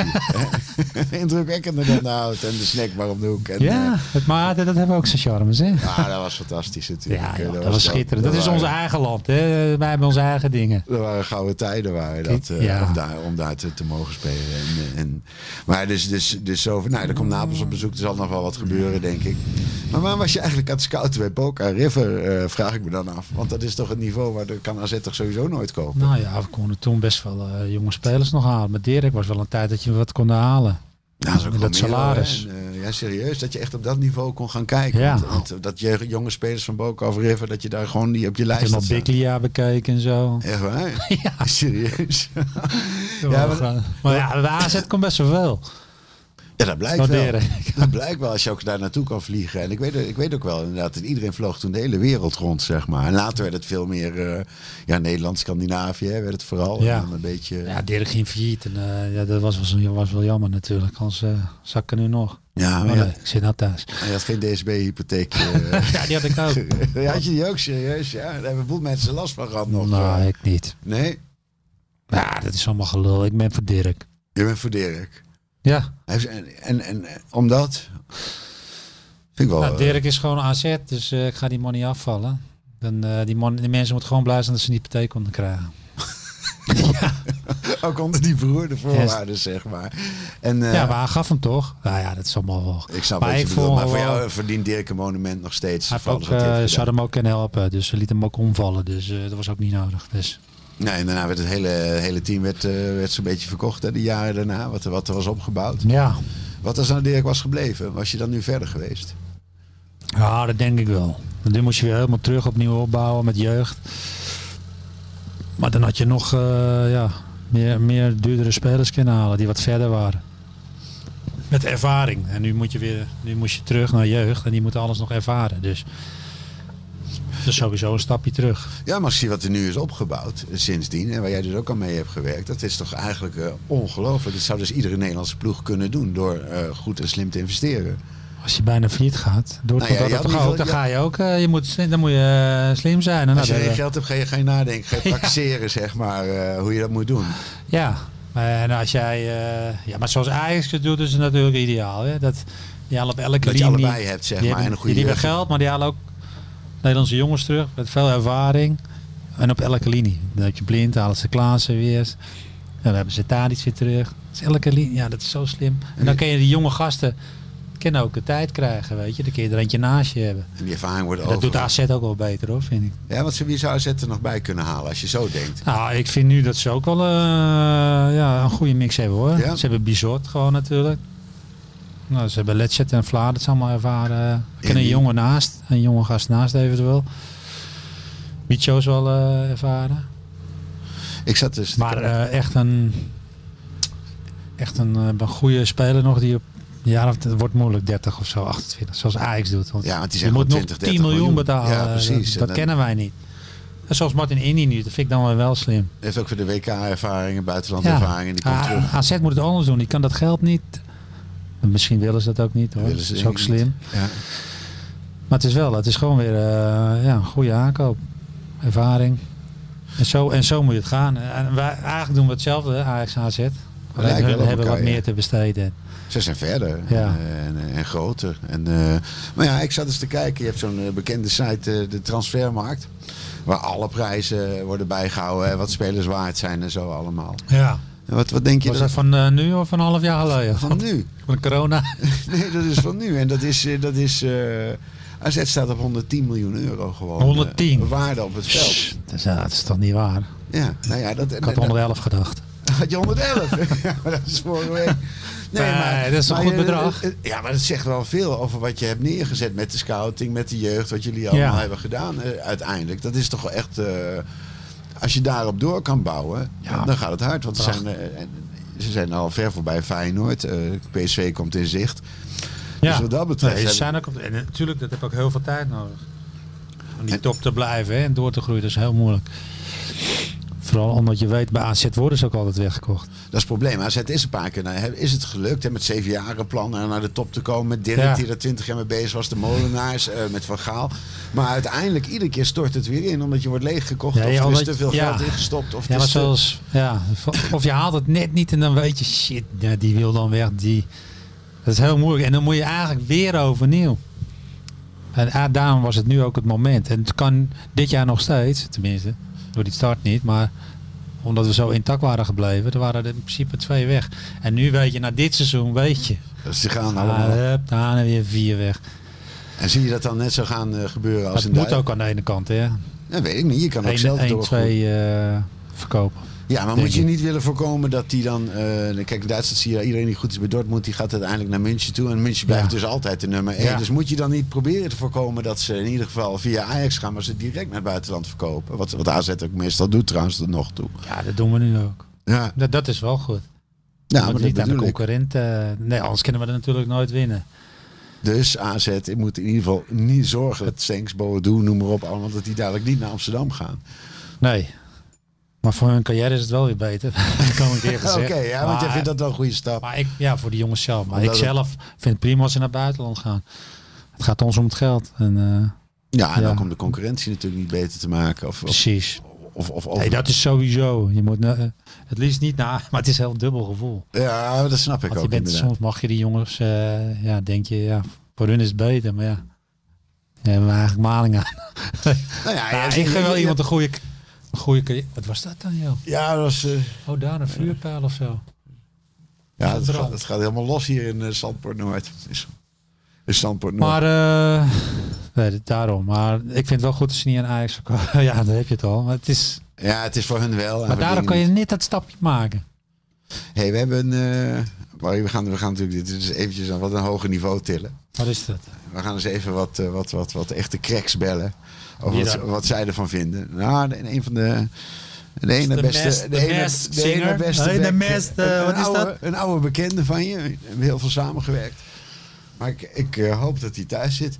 S3: nu. Indrukwekkender dan de hout en de snack maar om de hoek. En,
S4: Ja,
S3: eh,
S4: het, maar dat, dat hebben ook zijn charmes, hè?
S3: ah, dat was fantastisch natuurlijk.
S4: Ja,
S3: Eh,
S4: joh, dat was
S3: wel-
S4: schitterend. Dat is
S3: waren-
S4: ons eigen land, hè? Wij hebben onze eigen dingen.
S3: Er waren gouden tijden waren dat, eh,
S4: Ja.
S3: om, daar, om daar te, te mogen spelen. En, eh, en, maar dus, dus, dus zo van, nou, er komt Napels op bezoek, er zal nog wel wat gebeuren, denk ik. Maar waar was je eigenlijk aan het scouten bij Boca River, eh, vraag ik me dan af. Want dat is toch het niveau waar de kan AZ toch sowieso nooit komen.
S4: Nou ja, we konden toen best wel eh, jonge spelers nog halen. Maar Dirk was wel een tijd dat je wat kon halen.
S3: Nou, is ook
S4: Met
S3: wel
S4: dat
S3: meer,
S4: salaris.
S3: hè. En, eh, ja, serieus, dat je echt op dat niveau kon gaan kijken.
S4: Ja.
S3: Want, want, eh, dat je jonge spelers van Boca of River, dat je daar gewoon die op je
S4: Ik heb
S3: lijst had
S4: nog
S3: staan.
S4: Biglia bekeken en zo.
S3: Echt waar?
S4: Ja.
S3: Serieus?
S4: Ja,
S3: maar-
S4: maar, maar ja, de AZ komt best wel veel.
S3: Ja, dat blijkt wel.
S4: Waarderen.
S3: Dat blijkt wel als je ook daar naartoe kan vliegen. En ik weet, ik weet ook wel inderdaad dat iedereen vloog toen de hele wereld rond, zeg maar. En later werd het veel meer eh, ja, Nederland, Scandinavië hè, werd het vooral.
S4: Ja.
S3: En dan een beetje, ja.
S4: Ja, Dirk ging failliet. En, eh, ja, dat was wel, zo- was wel jammer natuurlijk. Anders eh zak ik er nu nog.
S3: maar
S4: Maar
S3: ja,
S4: nee, ik zit nou thuis.
S3: je had geen DSB-hypotheek.
S4: Ja, die had ik ook.
S3: had je eh. die ook serieus? Ja, daar hebben een boel mensen last van gehad nog.
S4: nou, ik niet.
S3: Nee?
S4: Ja, dat is allemaal gelul. Ik ben voor Dirk. Nou,
S3: Je bent voor Dirk.
S4: Ja,
S3: Hij heeft- En, en, en eh, omdat? Vind ik wel...
S4: nou,
S3: eh,
S4: Dirk is gewoon AZ, dus eh, ik ga die man niet afvallen. Dan, eh, die, man, die mensen moeten gewoon blij zijn dat ze een hypotheek konden krijgen.
S3: eh, ook onder die beroerde voorwaarden, zeg maar. En, eh,
S4: Ja, maar hij gaf hem toch? Nou ja, dat is allemaal wel.
S3: Ik snap
S4: maar
S3: wat je
S4: ik
S3: bedoelt,
S4: vond
S3: maar voor
S4: wel-
S3: jou eh, verdient Dirk een monument nog steeds.
S4: Hij heeft
S3: voor
S4: ook,
S3: alles wat hij heeft
S4: eh, ze
S3: gedaan.
S4: hadden hem ook kunnen helpen, dus ze lieten hem ook omvallen. Dus eh, dat was ook niet nodig. Dus.
S3: Nee, en daarna werd het hele, hele team werd, eh, werd zo'n beetje verkocht. Hè, de jaren daarna, wat, er- wat er was opgebouwd.
S4: Ja.
S3: Wat als nou Dirk was gebleven? Was je dan nu verder geweest?
S4: ja, dat denk ik wel. Want nu moest je weer helemaal terug opnieuw opbouwen met jeugd. Maar dan had je nog eh, ja, meer, meer duurdere spelers kunnen halen die wat verder waren. Met ervaring. En nu moet je weer nu moest je terug naar jeugd en die moeten alles nog ervaren. Dus dat is sowieso een stapje terug.
S3: Ja, maar als je ziet wat er nu is opgebouwd eh, sindsdien, en waar jij dus ook aan mee hebt gewerkt, dat is toch eigenlijk eh, ongelooflijk. Dat zou dus iedere Nederlandse ploeg kunnen doen door eh, goed en slim te investeren.
S4: Als je bijna failliet gaat, door het
S3: Nou ja,
S4: contract
S3: je had
S4: op te
S3: niet veel-
S4: gaan, dan
S3: ja.
S4: ga je ook, eh, je moet, slim- dan moet je eh, slim zijn. En
S3: Als je
S4: nou,
S3: geen
S4: dat-
S3: geld hebt, ga je geen nadenken, ga je taxeren, zeg maar, eh, hoe je dat moet doen.
S4: Ja, maar en als jij, eh, ja, maar zoals Ajax het doet, is het natuurlijk ideaal. Hè? Dat die halen op elke
S3: Dat je
S4: linie-
S3: allebei hebt, zeg
S4: die
S3: maar, en
S4: hebben-
S3: een goede
S4: die hebben
S3: jeugd.
S4: geld, maar die halen ook Nederlandse jongens terug met veel ervaring en op elke linie. Dan heb je blind, halen ze Klaassen weer. En dan hebben ze Tadic weer terug. Dus elke linie, ja, dat is zo slim. En dan kun je die jonge gasten kunnen ook de tijd krijgen, weet je. Dan kun je er eentje naast je hebben.
S3: En die ervaring wordt
S4: En dat doet
S3: over.
S4: AZ ook wel beter, hoor, vind ik.
S3: Ja, want ze- wie zou AZ er nog bij kunnen halen als je zo denkt?
S4: Nou, ik vind nu dat ze ook wel eh, ja, een goede mix hebben hoor.
S3: Ja?
S4: Ze hebben Bizot gewoon natuurlijk. Nou, ze hebben Letchet en Vlaar, dat is allemaal ervaren. Ik ken een
S3: die-
S4: jongen naast, een jonge gast naast eventueel. Micho is wel eh, ervaren.
S3: Ik zat dus...
S4: Maar eh, echt een, echt een, eh, een goede speler nog die op ja, dat wordt moeilijk 30 of zo, 28, zoals Ajax doet. Want
S3: Ja, want die
S4: je
S3: zijn
S4: moet
S3: gewoon
S4: nog
S3: 20,
S4: 10
S3: 30
S4: miljoen betalen.
S3: Ja, precies.
S4: Dat,
S3: En
S4: dat
S3: dan-
S4: kennen wij niet. En zoals Martin Indy nu, dat vind ik dan wel wel slim.
S3: heeft ook voor de WK-ervaring en buitenlandervaring. En die komt
S4: Ah,
S3: terug.
S4: AZ moet het anders doen. Die kan dat geld niet. Misschien willen ze dat ook niet hoor.
S3: Willen
S4: Dat
S3: ze
S4: is
S3: denk
S4: ook
S3: ik
S4: slim.
S3: niet. Ja.
S4: Maar het is wel, het is gewoon weer eh, ja, een goede aankoop. Ervaring. En zo, en zo moet je het gaan. En wij, eigenlijk doen we hetzelfde, hè, Ajax AZ. Alleen
S3: lijken
S4: hun
S3: wel op
S4: hebben
S3: elkaar,
S4: wat
S3: ja.
S4: meer te besteden.
S3: Ze zijn verder
S4: Ja.
S3: en, eh, en, eh, en groter. En, eh, maar ja, ik zat eens te kijken. Je hebt zo'n eh, bekende site, eh, de Transfermarkt. Waar alle prijzen worden bijgehouden. eh, Wat spelers waard zijn en zo allemaal.
S4: Ja.
S3: En wat, wat denk je
S4: Was
S3: dat
S4: dat van eh, nu of van een half jaar geleden?
S3: van nu?
S4: Van corona?
S3: Nee, dat is van nu. En dat is... eh, Dat is eh, AZ staat op 110 miljoen euro gewoon. eh,
S4: 110?
S3: waarde op het veld.
S4: Psst, dat, is, ja, dat is toch niet waar?
S3: Ja, nou ja, dat,
S4: Ik had 111 gedacht.
S3: Had je 111? ja, maar dat is vorige week.
S4: Nee, dat is een
S3: maar
S4: goed
S3: je-
S4: bedrag.
S3: Ja, maar dat zegt wel veel over wat je hebt neergezet met de scouting, met de jeugd, wat jullie allemaal hebben gedaan eh, uiteindelijk. Dat is toch wel echt, eh, als je daarop door kan bouwen,
S4: Ja.
S3: dan gaat het hard. Want ze zijn, eh, en- ze zijn al ver voorbij Feyenoord, eh, PSV komt in zicht. Dus wat dat betreft
S4: Nee, ze
S3: hebben-
S4: zijn ook op- en natuurlijk, dat heb ook heel veel tijd nodig. Om die top te blijven hè, en door te groeien, dat is heel moeilijk. Vooral omdat je weet, bij AZ worden ze ook altijd weggekocht.
S3: Dat is het probleem. AZ is een paar keer. nou, hè, is het gelukt hè, met zeven jaren plannen naar de top te komen. Met Dirk
S4: Ja.
S3: die er twintig jaar mee bezig was. De Molenaars eh, met Van Gaal. Maar uiteindelijk iedere keer stort het weer in. Omdat je wordt leeggekocht.
S4: Ja,
S3: of
S4: je
S3: er is
S4: altijd-
S3: te veel
S4: ja.
S3: geld ingestopt. Of het
S4: Ja, maar
S3: is te-
S4: zoals, ja, of je haalt het net niet en dan weet je, shit, ja, die wil dan weg. Die, dat is heel moeilijk. En dan moet je eigenlijk weer overnieuw. En ah, daarom was het nu ook het moment. En het kan dit jaar nog steeds, tenminste, door die start niet, maar omdat we zo intact waren gebleven, er waren er in principe twee weg. En nu weet je, na dit seizoen weet je,
S3: Ze gaan
S4: ah,
S3: allemaal.
S4: hup, daarna weer vier weg.
S3: En zie je dat dan net zo gaan eh, gebeuren als
S4: Dat
S3: in
S4: moet
S3: Duitsland?
S4: ook aan de ene kant, hè.
S3: Dat weet ik niet. Je kan ook zelf
S4: 1,
S3: doorgroeien.
S4: 2 eh, verkopen.
S3: Ja, maar
S4: Denk
S3: moet je
S4: ik.
S3: niet willen voorkomen dat die dan... eh, kijk, in Duitsland zie je iedereen die goed is bij Dortmund... die gaat uiteindelijk naar München toe. En München blijft
S4: Ja.
S3: dus altijd de nummer 1.
S4: Ja.
S3: Dus moet je dan niet proberen te voorkomen dat ze in ieder geval via Ajax gaan... maar ze direct naar het buitenland verkopen. Wat, wat AZ ook meestal doet trouwens tot nog toe.
S4: Ja, dat doen we nu ook.
S3: Ja,
S4: Dat, dat is wel goed.
S3: ja
S4: maar
S3: maar dat
S4: niet aan de
S3: bedoel ik.
S4: concurrent. eh, nee, anders kunnen we dat natuurlijk nooit winnen.
S3: Dus AZ moet in ieder geval niet zorgen dat Stenks, Boadu, noem maar op... allemaal dat die dadelijk niet naar Amsterdam gaan.
S4: Nee. Maar voor hun carrière is het wel weer beter. Dat kan ik eerlijk
S3: Oké,
S4: zeggen.
S3: ja, want jij
S4: Maar-
S3: vindt dat wel een goede stap.
S4: Maar ik, ja, voor die jongens zelf. Maar
S3: Omdat
S4: ik
S3: het-
S4: zelf vind het prima als ze naar het buitenland gaan. Het gaat ons om het geld. En, eh,
S3: ja, en
S4: ja.
S3: ook om de concurrentie natuurlijk niet beter te maken. Of, of,
S4: precies.
S3: of, of, of-
S4: Nee, dat is sowieso. Je moet na- eh, het liefst niet naar, maar het is een heel dubbel gevoel.
S3: Ja, dat snap ik
S4: Want je
S3: ook
S4: bent,
S3: inderdaad.
S4: soms mag je die jongens, eh, ja, denk je, ja, voor hun is het beter, maar ja. Ja, hebben we eigenlijk maling aan.
S3: Nou ja,
S4: Ja,
S3: ja,
S4: ik
S3: je-
S4: geef wel
S3: je-
S4: iemand een goede, een goede carrière. Wat was dat dan, joh?
S3: Ja, dat was, eh,
S4: Oh, daar een vuurpijl of zo.
S3: ja, het,
S4: brand.
S3: gaat, het gaat helemaal los hier in eh, Zandpoort Noord. Is, is Zandpoort Noord.
S4: Maar, eh, nee, dat- daarom. Maar ik vind het wel goed dat ze niet aan Ajax verkopen. ja, daar heb je het al. Maar, het is,
S3: ja, het is voor hun wel. en
S4: maar
S3: voor
S4: daarom
S3: dingen
S4: kan je net dat stapje maken.
S3: niet. hey, we hebben een... eh, maar we gaan, we gaan natuurlijk dit is eventjes aan wat een hoger niveau tillen.
S4: Wat is dat?
S3: We gaan eens even wat, eh, wat, wat, wat echte cracks bellen. Over
S4: Wie
S3: wat,
S4: dan?
S3: wat zij ervan vinden. Nou, de, een van de... De ene
S4: de
S3: beste,
S4: best- de
S3: ene,
S4: best
S3: de ene
S4: singer?
S3: beste.
S4: De ene
S3: back-
S4: best, eh,
S3: een- een
S4: wat is
S3: oude-
S4: dat?
S3: Een oude bekende van je. We hebben heel veel samengewerkt. Maar ik, ik eh, hoop dat hij thuis zit.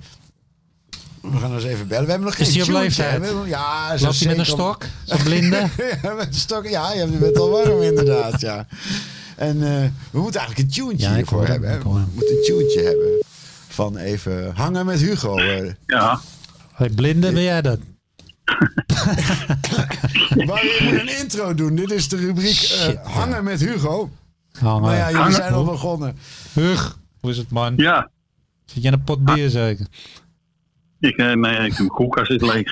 S3: We gaan eens even bellen. We hebben nog geen
S4: Is hij op
S3: tune,
S4: leeftijd?
S3: hè? We hebben- Ja, zo
S4: Loopt hij met een
S3: zeker op-
S4: stok? Zo'n blinde?
S3: ja, met een stok. Ja, je bent al warm inderdaad, ja. En eh, we moeten eigenlijk een tuentje
S4: Ja, ik
S3: hiervoor
S4: hoor hem,
S3: hebben. hè.
S4: ik hoor hem.
S3: We moeten een tuentje hebben. Van even hangen met Hugo. eh.
S5: Ja,
S4: Hey, blinde, ben jij dat?
S3: Maar je moet een intro doen. Dit is de rubriek eh,
S4: Shit, ja.
S3: hangen met Hugo.
S4: Oh,
S3: Maar ja, jullie
S5: Hangen.
S3: zijn al begonnen.
S4: Hug, hoe is het, man?
S5: ja.
S4: Zit je in een pot bier zeker?
S5: Ik, eh, nee, ik, mijn koelkast is leeg.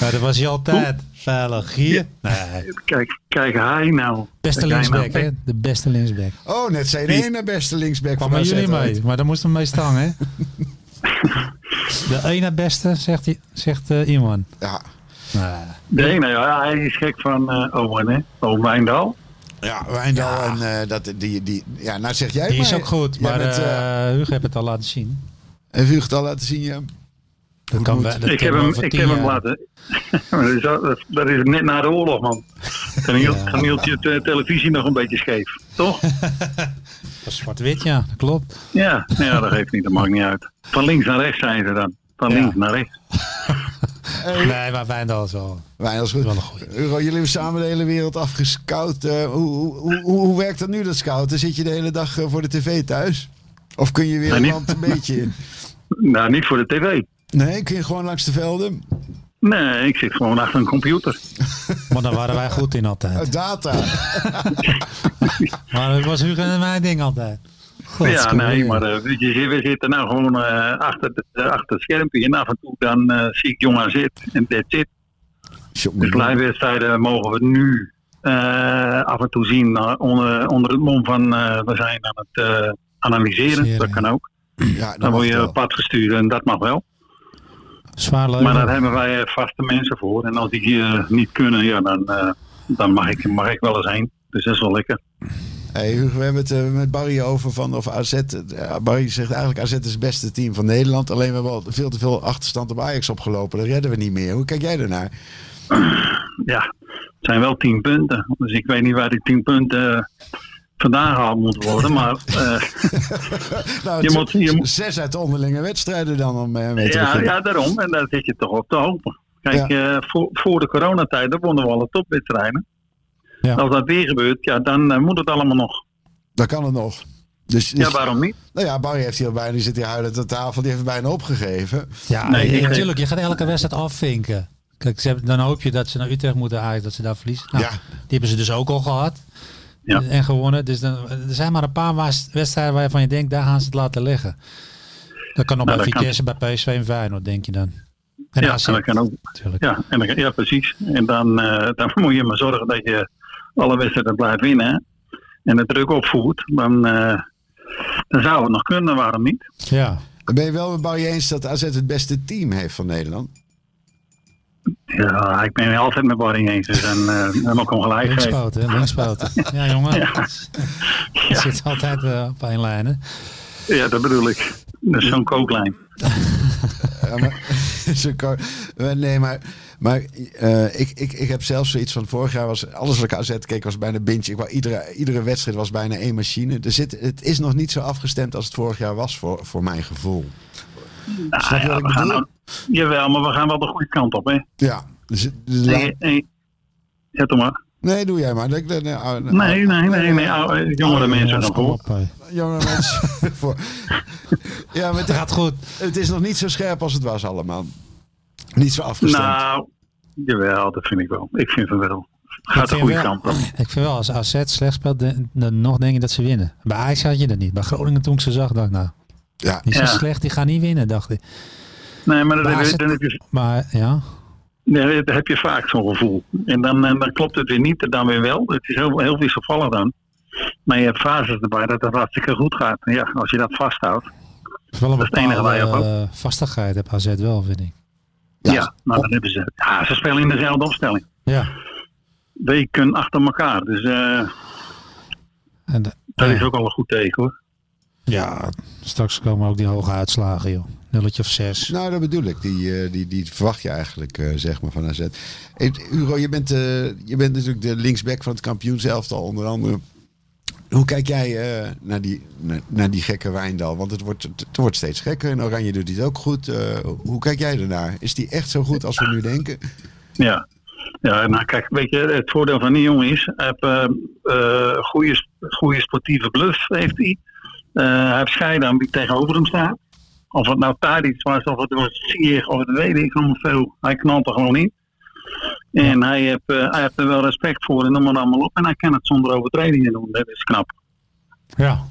S4: Ja, dat was hij altijd. Veilig. Hier? Nee.
S5: Kijk, kijk hij nou.
S4: Beste
S5: Kijk, hij nou.
S4: linksback, hè? De beste linksback.
S3: Oh, net zijn de ene beste linksback
S4: Kwam
S3: van
S4: bij
S3: AZ
S4: jullie
S3: uit.
S4: mee, maar daar moest hem mee staan, hè? De ene beste, zegt, die- zegt eh, iemand.
S3: Ja,
S4: Nou,
S5: De ene, ja, hij is gek van eh Owen, hè? Owen Wijndal.
S3: ja Wijndal en eh, dat, die, die... Ja, nou zeg jij
S4: die is
S3: maar.
S4: ook goed,
S3: Jij
S4: maar
S3: bent, eh,
S4: eh Hugo heeft het al laten zien.
S3: heeft Hugo het al laten zien, ja?
S4: Dat kan wel- dat
S5: Ik heb
S4: kennen we
S5: hem,
S4: over
S5: ik
S4: tien
S5: heb hem
S4: jaar.
S5: laten. Maar dat, is, al- dat- dat is net na de oorlog, man. Dan hield, dan hield je de televisie nog een beetje scheef, toch?
S4: Dat is zwart-wit, ja, dat klopt.
S5: Ja, nou ja, dat geeft niet, dat maakt niet uit. Van links naar rechts zijn ze dan. Van
S4: Ja.
S5: links naar rechts.
S3: Eh,
S4: Nee, maar Wijndal is wel.
S3: Wijn, dat is goed.
S4: Wel een goeie.
S3: Hugo, jullie hebben samen de hele wereld afgescout. Eh, hoe, hoe, hoe, hoe werkt dat nu, dat scouten? Zit je de hele dag eh, voor de tv thuis? Of kun je weer
S5: Nou,
S3: een
S5: niet.
S3: land een beetje in?
S5: Nou, niet voor de tv.
S3: Nee, kun je gewoon langs de velden?
S5: Nee, ik zit gewoon achter een computer.
S4: Maar daar waren wij goed in altijd.
S3: Uit data.
S4: Maar dat was Hugo en mijn ding altijd. God,
S5: ja,
S4: scoren.
S5: nee, maar eh, weet je, we zitten nou gewoon eh, achter, de, achter het schermpje. En af en toe dan eh, zie ik jong aan zit en dit zit. Dus
S3: Mhm.
S5: lijnwedstrijden mogen we nu eh, af en toe zien eh, onder, onder het mom van eh, we zijn aan het eh, analyseren.
S4: Analyseren,
S5: dat kan ook.
S3: Ja,
S5: Dan
S3: mag
S5: word je
S3: wel. Oh,
S5: op pad gestuurd en dat mag wel.
S4: Zwaar leuk.
S5: Maar daar hebben wij eh, vaste mensen voor. En als die eh, niet kunnen, ja, dan, eh, dan mag, ik, mag ik wel eens heen. Dus dat is wel lekker.
S3: Hey, Hugo, we hebben het eh, met Barry over van of AZ. eh, Barry zegt eigenlijk AZ is het beste team van Nederland. Alleen we hebben al veel te veel achterstand op Ajax opgelopen. Dat redden we niet meer. Hoe kijk jij daarnaar?
S5: ja, het zijn wel tien punten. Dus ik weet niet waar die tien punten eh, vandaan gehaald moeten worden. Maar eh,
S3: Nou,
S5: Je
S3: z-
S5: moet- je moet-
S3: Zes uit de onderlinge wedstrijden dan om eh, mee te
S5: ja,
S3: beginnen.
S5: ja, daarom. En daar zit je toch op te hopen. Kijk, eh, voor, voor de coronatijd, dan wonnen we alle topwedstrijden.
S4: Ja.
S5: Als dat weer gebeurt, ja, dan eh, moet het allemaal nog.
S3: Dan kan het nog. Dus, dus-
S5: Ja, waarom niet?
S3: nou ja, Barry heeft hier bijna, die zit hier huilend aan tafel, die heeft het bijna opgegeven.
S4: Ja,
S5: Nee, ik-
S4: natuurlijk. Je gaat elke wedstrijd afvinken. Kijk, ze hebben- dan hoop je dat ze naar Utrecht moeten eigenlijk, dat ze daar verliezen. Nou,
S3: Ja.
S4: Die hebben ze dus ook al gehad.
S5: Ja.
S4: En gewonnen. Dus dan, er zijn maar een paar waas- wedstrijden waarvan je denkt, daar gaan ze het laten liggen. Dat kan nog bij
S5: Nou, dat kan.
S4: Vitesse, bij PSV en Feyenoord, denk je dan. En
S5: ja,
S4: AZ
S5: en dat kan ook.
S4: natuurlijk.
S5: Ja, en dan, ja precies. En dan, eh, dan moet je maar zorgen dat je alle wedstrijden blijft winnen. En de druk opvoert. Dan, eh, dan zou het nog kunnen, waarom niet?
S4: Ja.
S3: Ben je wel met Barry eens dat AZ het beste team heeft van Nederland?
S5: Ja, ik ben het altijd met Barry eens. Dus dan eh hem ook ongelijk geven.
S4: Linkspoten, hè, linkspoten. Ja, jongen.
S5: Ja.
S4: Het zit altijd eh, op één lijn, hè?
S5: Ja, dat bedoel ik. Dat is zo'n kooklijn.
S3: Ja, maar, zo kan- maar Eh, nee, maar, maar eh, ik, ik, ik heb zelfs zoiets van vorig jaar was alles wat ik AZ keek was bijna bintje. Ik wou, iedere, iedere wedstrijd was bijna één machine. Er zit, het is nog niet zo afgestemd als het vorig jaar was voor, voor mijn gevoel. Snap je
S5: Ah, Ja,
S3: wat
S5: we
S3: ik
S5: gaan
S3: bedoel?
S5: dan- jawel, maar we gaan wel de goede kant op, hè?
S3: Ja. Dus, het- dus laat-
S5: Nee, nee. Zet hem maar.
S3: nee, doe jij maar. Nee, nee, nee,
S5: Nee, nee, nee, nee. oude-
S3: Oh,
S5: Jongere mensen dan
S4: Dus Kom
S5: voor.
S4: op, eh. hé.
S3: Jonge mensen. voor. Ja, maar
S4: Het
S3: het,
S4: gaat goed.
S3: het is nog niet zo scherp als het was allemaal. Niet zo afgestemd.
S5: Nou, jawel, dat vind ik wel. Ik vind het wel. Gaat de
S4: vind
S5: goede
S4: wel-
S5: kant op.
S4: Ik vind wel, als AZ slecht speelt, de- dan nog denk ik dat ze winnen. Bij Ajax had je dat niet. Bij Groningen toen ik ze zag, dacht ik nou,
S3: ja.
S4: die zijn
S5: Ja.
S4: slecht, die gaan niet winnen, dacht ik.
S5: Nee, maar dat,
S4: Maar
S5: heb,
S4: als
S5: je- dan heb je,
S4: Maar ja,
S5: nee, dat heb je vaak zo'n gevoel. En dan, en dan klopt het weer niet, en dan weer wel. Het is heel, heel wisselvallig dan. Maar je hebt fases erbij dat het hartstikke goed gaat. En ja, als je dat vasthoudt.
S4: het is wel een
S5: Dat is het enige
S4: bepaalde
S5: waar je op
S4: eh, vastigheid heb AZ wel, vind ik.
S5: Ja, nou, dan hebben ze. Ja, ze spelen in dezelfde opstelling.
S4: Ja.
S5: Weken achter elkaar. Dus eh,
S4: En de-
S5: dat
S4: nou
S5: is ook al een goed teken hoor.
S4: ja, straks komen ook die hoge uitslagen, joh. Nulletje of zes.
S3: Nou, dat bedoel ik. Die, eh, die, die verwacht je eigenlijk, eh, zeg maar, van AZ. Hey, Hugo, je bent, eh, je bent natuurlijk de linksback van het kampioenselftal, onder andere. Hoe kijk jij eh, naar, die, naar, naar die gekke Wijndal? Want het wordt, het wordt steeds gekker en Oranje doet het ook goed. Eh, hoe kijk jij ernaar? Is die echt zo goed als we nu denken?
S5: Ja. Ja, nou kijk, weet je, het voordeel van die jongen is, hij heeft eh, eh, goede, sp- goede sportieve bluff heeft hij. Eh, hij heeft scheiden aan wie tegenover hem staat. Of het nou Tadic was, of het was Sier, of het weet ik nog veel. Hij knalt er gewoon in. En hij heeft, eh, hij heeft er wel respect voor en noem maar allemaal op. En hij kan het zonder overtredingen doen, dat is knap.
S4: Ja.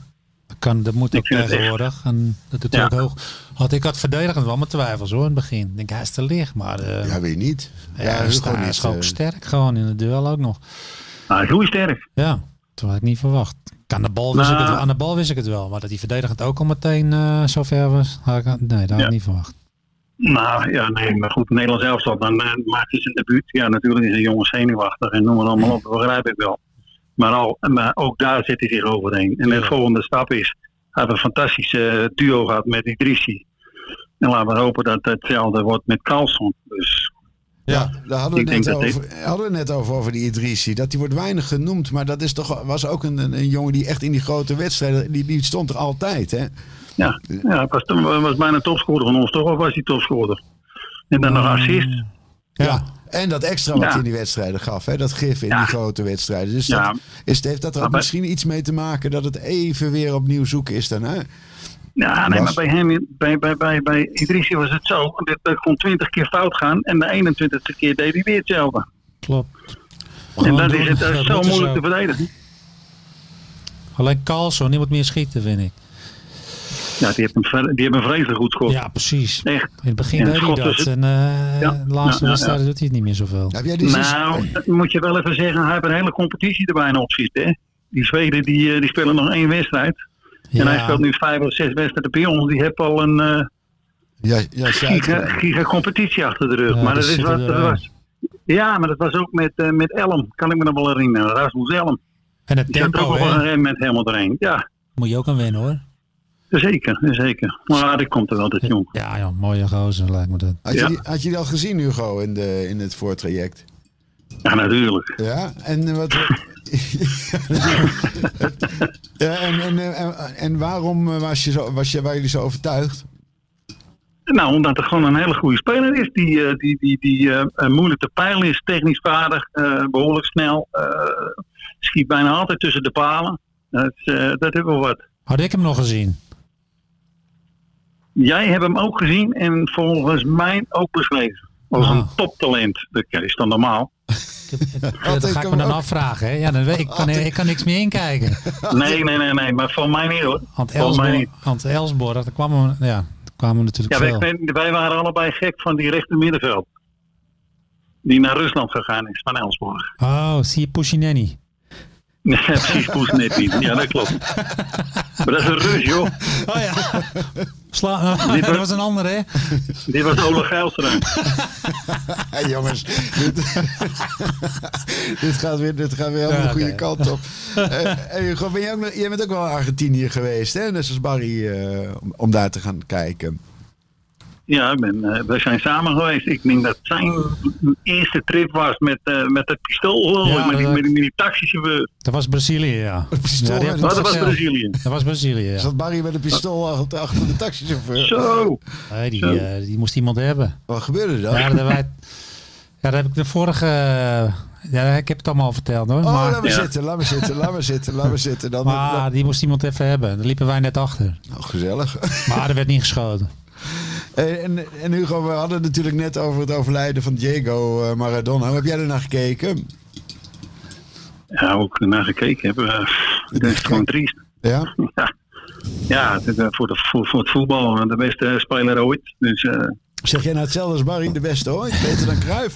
S4: Dat, kan, dat moet
S5: Ik
S4: ook
S5: vind het echt-
S4: tegenwoordig. En dat doet hij
S5: Ja.
S4: ook hoog. Had ik had verdedigend wel mijn twijfels hoor in het begin. Ik denk, hij is te licht, maar eh,
S3: Ja, weer niet.
S4: ja, hij is, hij is
S3: eh.
S4: ook sterk gewoon in het duel ook nog.
S5: Nou, hij is heel sterk.
S4: Ja, dat had ik niet verwacht. Ik Aan de, bal wist
S5: Nou.
S4: ik het, wel- aan de bal wist ik het wel, maar dat die verdedigend ook al meteen eh zover was, had ik, nee, dat had
S5: Ja.
S4: ik niet verwacht.
S5: Nou ja, nee, maar goed, Nederland zelf dat. Dan eh, maakt hij zijn debuut. Ja, natuurlijk is een jongen zenuwachtig en noem maar allemaal op. Dat begrijp ik wel. Maar, al, maar ook daar zit hij zich overheen. En de volgende stap is, hij heeft een fantastische eh, duo gehad met Idrissi. En laten we hopen dat hetzelfde wordt met Carlson. Dus
S3: Ja, daar hadden
S5: Ik
S3: we, net
S5: denk dat
S3: over, hadden we net over, over die Idrissi. Dat die wordt weinig genoemd, maar dat is toch, was ook een, een, een jongen die echt in die grote wedstrijden, die, die stond er altijd, hè?
S5: ja, ja hij was, toen- was bijna topscorer van ons toch? Of was hij topscorer? En dan nog assist.
S3: Ja. En dat extra wat
S5: Ja.
S3: hij in die wedstrijden gaf, hè? dat gif in
S5: Ja.
S3: die grote wedstrijden. Dus
S5: Ja.
S3: dat, is, heeft dat er ook
S5: Maar-
S3: misschien iets mee te maken dat het even weer opnieuw zoeken is daarna?
S5: Ja, nee,
S3: Was-
S5: maar bij hem, bij, bij, bij, bij Idrissi was het zo. Dat, dat kon twintig keer fout gaan en de 21ste keer deed hij weer hetzelfde.
S4: Klopt.
S5: En
S4: Gewoon
S5: dan
S4: doen.
S5: is het eh,
S4: Dat
S5: zo
S4: moeten ze
S5: moeilijk te
S4: ook.
S5: verdedigen.
S4: Alleen Carlson, niemand meer schieten, vind ik.
S5: Ja, die heeft een, vre- die heeft een vreselijk goed schot.
S4: Ja, precies. In
S5: Echt.
S4: het begin
S5: En
S4: deed hij
S5: schot is
S4: dat.
S5: het.
S4: En eh,
S5: Ja.
S4: de laatste
S5: Ja, ja,
S4: wedstrijd doet hij het niet meer zoveel.
S3: Heb jij die zin-
S5: Nou, dat moet je wel even zeggen. Hij heeft een hele competitie er bijna op zitten. Hè? Die Zweden die, eh, die spelen nog één wedstrijd. En hij speelt nu vijf of zes wedstrijden bij ons. Die heeft al een eh
S3: Ja, ja, zei het,
S5: giga,
S3: eh,
S5: giga competitie achter de rug.
S4: Ja,
S5: maar
S4: die
S5: dat is
S4: zitten
S5: wat dat
S4: erin.
S5: was. Ja, maar dat was ook met, eh, met Elm. Kan ik me nog wel herinneren. Rasmus Elm.
S4: En het
S5: Die zat ook
S4: tempo,
S5: nog wel
S4: hè?
S5: een rem met helemaal erheen. Ja,
S4: Moet je ook aan winnen, hoor.
S5: zeker. zeker. Maar die komt er wel, dit jong.
S4: Ja, joh, mooie gozer lijkt me dat.
S3: had, je
S5: ja.
S3: die, had je die al gezien, Hugo, in, de, in het voortraject?
S5: Ja, natuurlijk.
S3: Ja, en eh, wat... ja, en, en, eh, en, en waarom eh, was je zo, was je, waren jullie zo overtuigd?
S5: Nou, omdat het gewoon een hele goede speler is. Die, eh, die, die, die eh, eh, moeilijk te peilen is, technisch vaardig, eh, behoorlijk snel. eh, schiet bijna altijd tussen de palen. Dat, is, eh, dat hebben we wat.
S4: Had ik hem nog gezien?
S5: Jij hebt hem ook gezien en volgens mij ook beschreven. Als
S4: Ah.
S5: een toptalent. Dat is dan normaal.
S4: Ja, dat
S3: ik
S4: ga ik
S3: hem
S4: me dan
S3: ook.
S4: afvragen. Hè? Ja, dan weet, ik, kan, ik kan niks meer inkijken.
S5: Nee, nee, nee, nee. Maar van mij niet hoor.
S4: Want
S5: Volgens mij niet.
S4: Elsborg, want Elsborg daar kwamen, we- ja, daar kwamen we natuurlijk
S5: Ja,
S4: veel.
S5: wij, wij waren allebei gek van die rechter middenveld. Die naar Rusland gegaan is van Elsborg.
S4: Oh, zie je Pushineni.
S5: Nee, precies, Poes net niet. Ja, dat klopt. Maar dat is een Rus, joh.
S4: Oh ja. Sla
S5: Dit
S4: dat
S5: was-
S4: was een ander, hè?
S5: Dit was Ole Gijlstra.
S3: Hey, jongens, dit, dit, gaat weer, dit gaat weer helemaal
S4: Ja,
S3: de goede
S4: oké.
S3: kant op. Eh, hey, Hugo, ben jij, ook nog- jij bent ook wel in Argentinië geweest, hè? Net zoals Barry, eh, om, om daar te gaan kijken.
S5: Ja, ik ben, eh, we zijn samen geweest. Ik denk dat zijn eerste trip was met, eh, met het pistool, geloof
S4: Ja,
S5: ik. Met, die-
S4: dat-
S5: met, die- met die taxichauffeur.
S4: Dat was Brazilië, ja.
S3: pistool
S4: ja, die
S3: en
S4: heb
S3: een
S4: ik
S5: Oh, dat was
S4: gezien.
S5: Brazilië.
S4: Dat was Brazilië, ja.
S3: Zat Barry met een pistool achter achter de taxichauffeur?
S5: Zo.
S4: Nee, die,
S5: Zo. Oh.
S4: eh, die moest iemand hebben.
S3: Wat gebeurde
S4: Ja,
S3: dan?
S4: daar, hebben wij, ja, daar heb ik de vorige... eh, Ja, ik heb het allemaal verteld, hoor.
S3: Oh,
S4: maar,
S3: laat me
S5: Ja.
S3: zitten, laat me zitten, laat me zitten, laat me zitten. Dan,
S4: maar
S3: dan-
S4: die moest iemand even hebben. Daar liepen wij net achter.
S3: nou, gezellig.
S4: Maar er werd niet geschoten.
S3: Hey, En, en Hugo, we hadden het natuurlijk net over het overlijden van Diego eh, Maradona. Hoe heb jij ernaar gekeken?
S5: Ja, hoe ik ernaar gekeken heb. eh, dat is gewoon triest.
S3: Ja?
S5: Ja, ja het is, eh, voor, de, voor, voor het voetbal eh, de beste speler ooit. Dus eh,
S3: Zeg jij nou hetzelfde als Barry, de beste hoor? Beter dan Cruijff?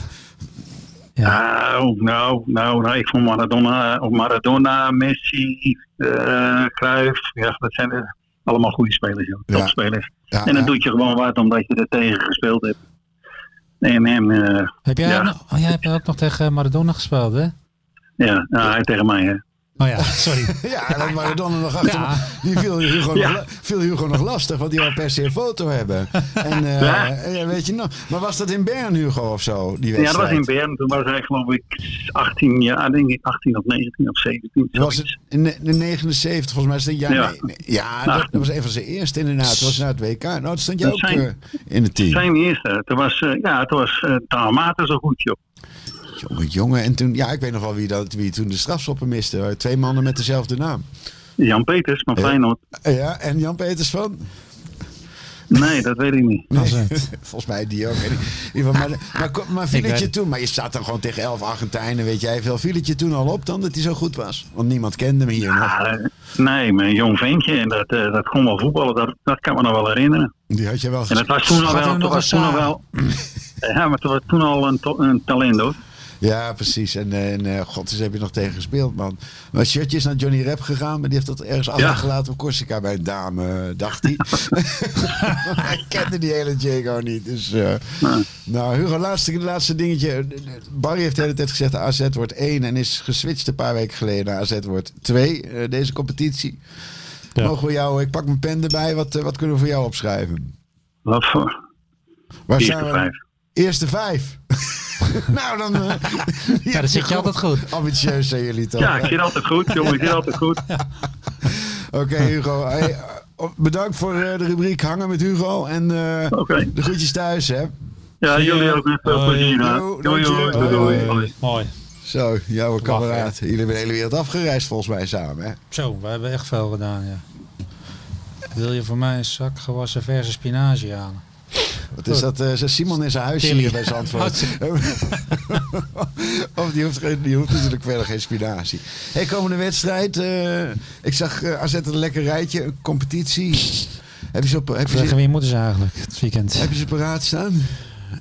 S5: Nou, nou, nou, nou, ik vond Maradona, of Maradona Messi, eh Cruijff, ja, dat zijn eh, allemaal goede spelers, joh.
S3: Ja.
S5: topspelers.
S3: Ja,
S5: en dan
S3: ja.
S5: doet je gewoon wat omdat je er tegen gespeeld hebt. En hem, eh,
S4: Heb jij,
S5: Ja.
S4: ook nog- oh, jij hebt ook nog tegen Maradona gespeeld, hè?
S5: ja, nou, hij tegen mij. Hè.
S4: Oh ja, sorry.
S3: Ja, en dan Maradona nog achter.
S4: Ja.
S3: Die viel Hugo,
S5: Ja.
S3: nog, viel Hugo nog lastig, want die wou per se een foto hebben. En, eh,
S5: Ja.
S3: en ja, weet je nog. Maar was dat in Bern, Hugo, of zo? Die
S5: Ja, dat was
S3: wedstrijd?
S5: in Bern. Toen was hij geloof ik 18 jaar, denk ik, 18 of 19 of 17.
S3: Dat was
S5: zoiets.
S3: het in de- in 79, volgens mij. Stond, ja,
S5: Ja.
S3: nee, nee. ja
S5: Nou.
S3: dat, dat was een van zijn eerste inderdaad. Dat was naar het WK. Nou, dat stond jij
S5: Dat
S3: ook
S5: zijn-
S3: eh, in het team.
S5: Zijn eerste. Toen was, eh, ja, toen was eh Tahamata zo goed, joh.
S3: Jongen, jongen. En toen, ja, ik weet nog wel wie, dat, wie toen de strafschoppen miste. hoor. Twee mannen met dezelfde naam.
S5: Jan Peters van Feyenoord.
S3: Ja, en Jan Peters van?
S5: Nee, dat weet ik niet.
S3: Volgens mij die ook. weet ik. In ieder geval, maar, maar, kom- maar viel
S4: Ah,
S3: het
S4: Ik weet
S3: je
S4: het.
S3: toen? Maar je staat dan gewoon tegen 11 Argentijnen, weet jij veel. Viel het je toen al op dan dat hij zo goed was? Want niemand kende hem hier nog.
S5: Ah, nee, maar een jong ventje en dat, eh, dat kon wel voetballen, dat, dat kan me nog wel herinneren.
S3: Die had je wel
S5: En dat
S3: gezien.
S5: was toen al
S4: Gaat
S5: wel,
S4: hij nog
S5: was
S4: eens
S5: toen
S3: eh,
S5: al wel ja, maar dat was toen al een, to- een talent hoor.
S3: Ja, precies. En, eh, en eh, god, dus heb je nog tegen gespeeld, man. Maar het shirtje is naar Johnny Rep gegaan, maar die heeft dat ergens achtergelaten op Corsica bij een dame, eh, dacht hij. hij kende die hele Diego niet. Dus, eh, Nou, Hugo, laatste, laatste dingetje. Barry heeft de hele tijd gezegd: AZ wordt 1 en is geswitcht een paar weken geleden naar AZ wordt 2, eh, deze competitie.
S4: Ja.
S3: Mogen we jou, ik pak mijn pen erbij, wat, eh, wat kunnen we voor jou opschrijven?
S5: Wat voor
S3: Waar
S5: eerste
S3: zijn we?
S5: vijf.
S3: Eerste vijf. nou, dan. eh,
S4: Ja, dat zit je altijd goed.
S3: Ambitieus zijn jullie toch?
S5: Ja, ik zit altijd goed, jongen, ik zit altijd goed.
S3: Oké, Hugo. Hey, eh, bedankt voor eh, de rubriek Hangen met Hugo. En eh,
S5: Oké.
S3: de groetjes thuis, hè?
S5: Ja, jullie ook met veel
S4: Hoi.
S5: plezier. hè.
S3: Doei,
S5: Doei, doei,
S3: dankjewel.
S5: doei, doei.
S3: Hoi.
S4: Mooi.
S3: Zo, jouw kameraad.
S4: hè.
S3: Jullie hebben de hele wereld afgereisd volgens mij samen, hè?
S4: Zo, we hebben echt veel gedaan, ja. Wil je voor mij een zak gewassen verse spinazie halen?
S3: Wat
S4: Oh.
S3: is dat? eh, zegt Simon in zijn huis
S4: Tilly.
S3: hier bij Zandvoort. of die hoeft, geen- die hoeft natuurlijk verder geen spinazie. Hey, komende wedstrijd. eh, ik zag eh, AZ een lekker rijtje. Een competitie. Heb je ze op... Heb je ze-
S4: Tegen wie moeten ze eigenlijk het weekend?
S3: Heb je ze paraat staan?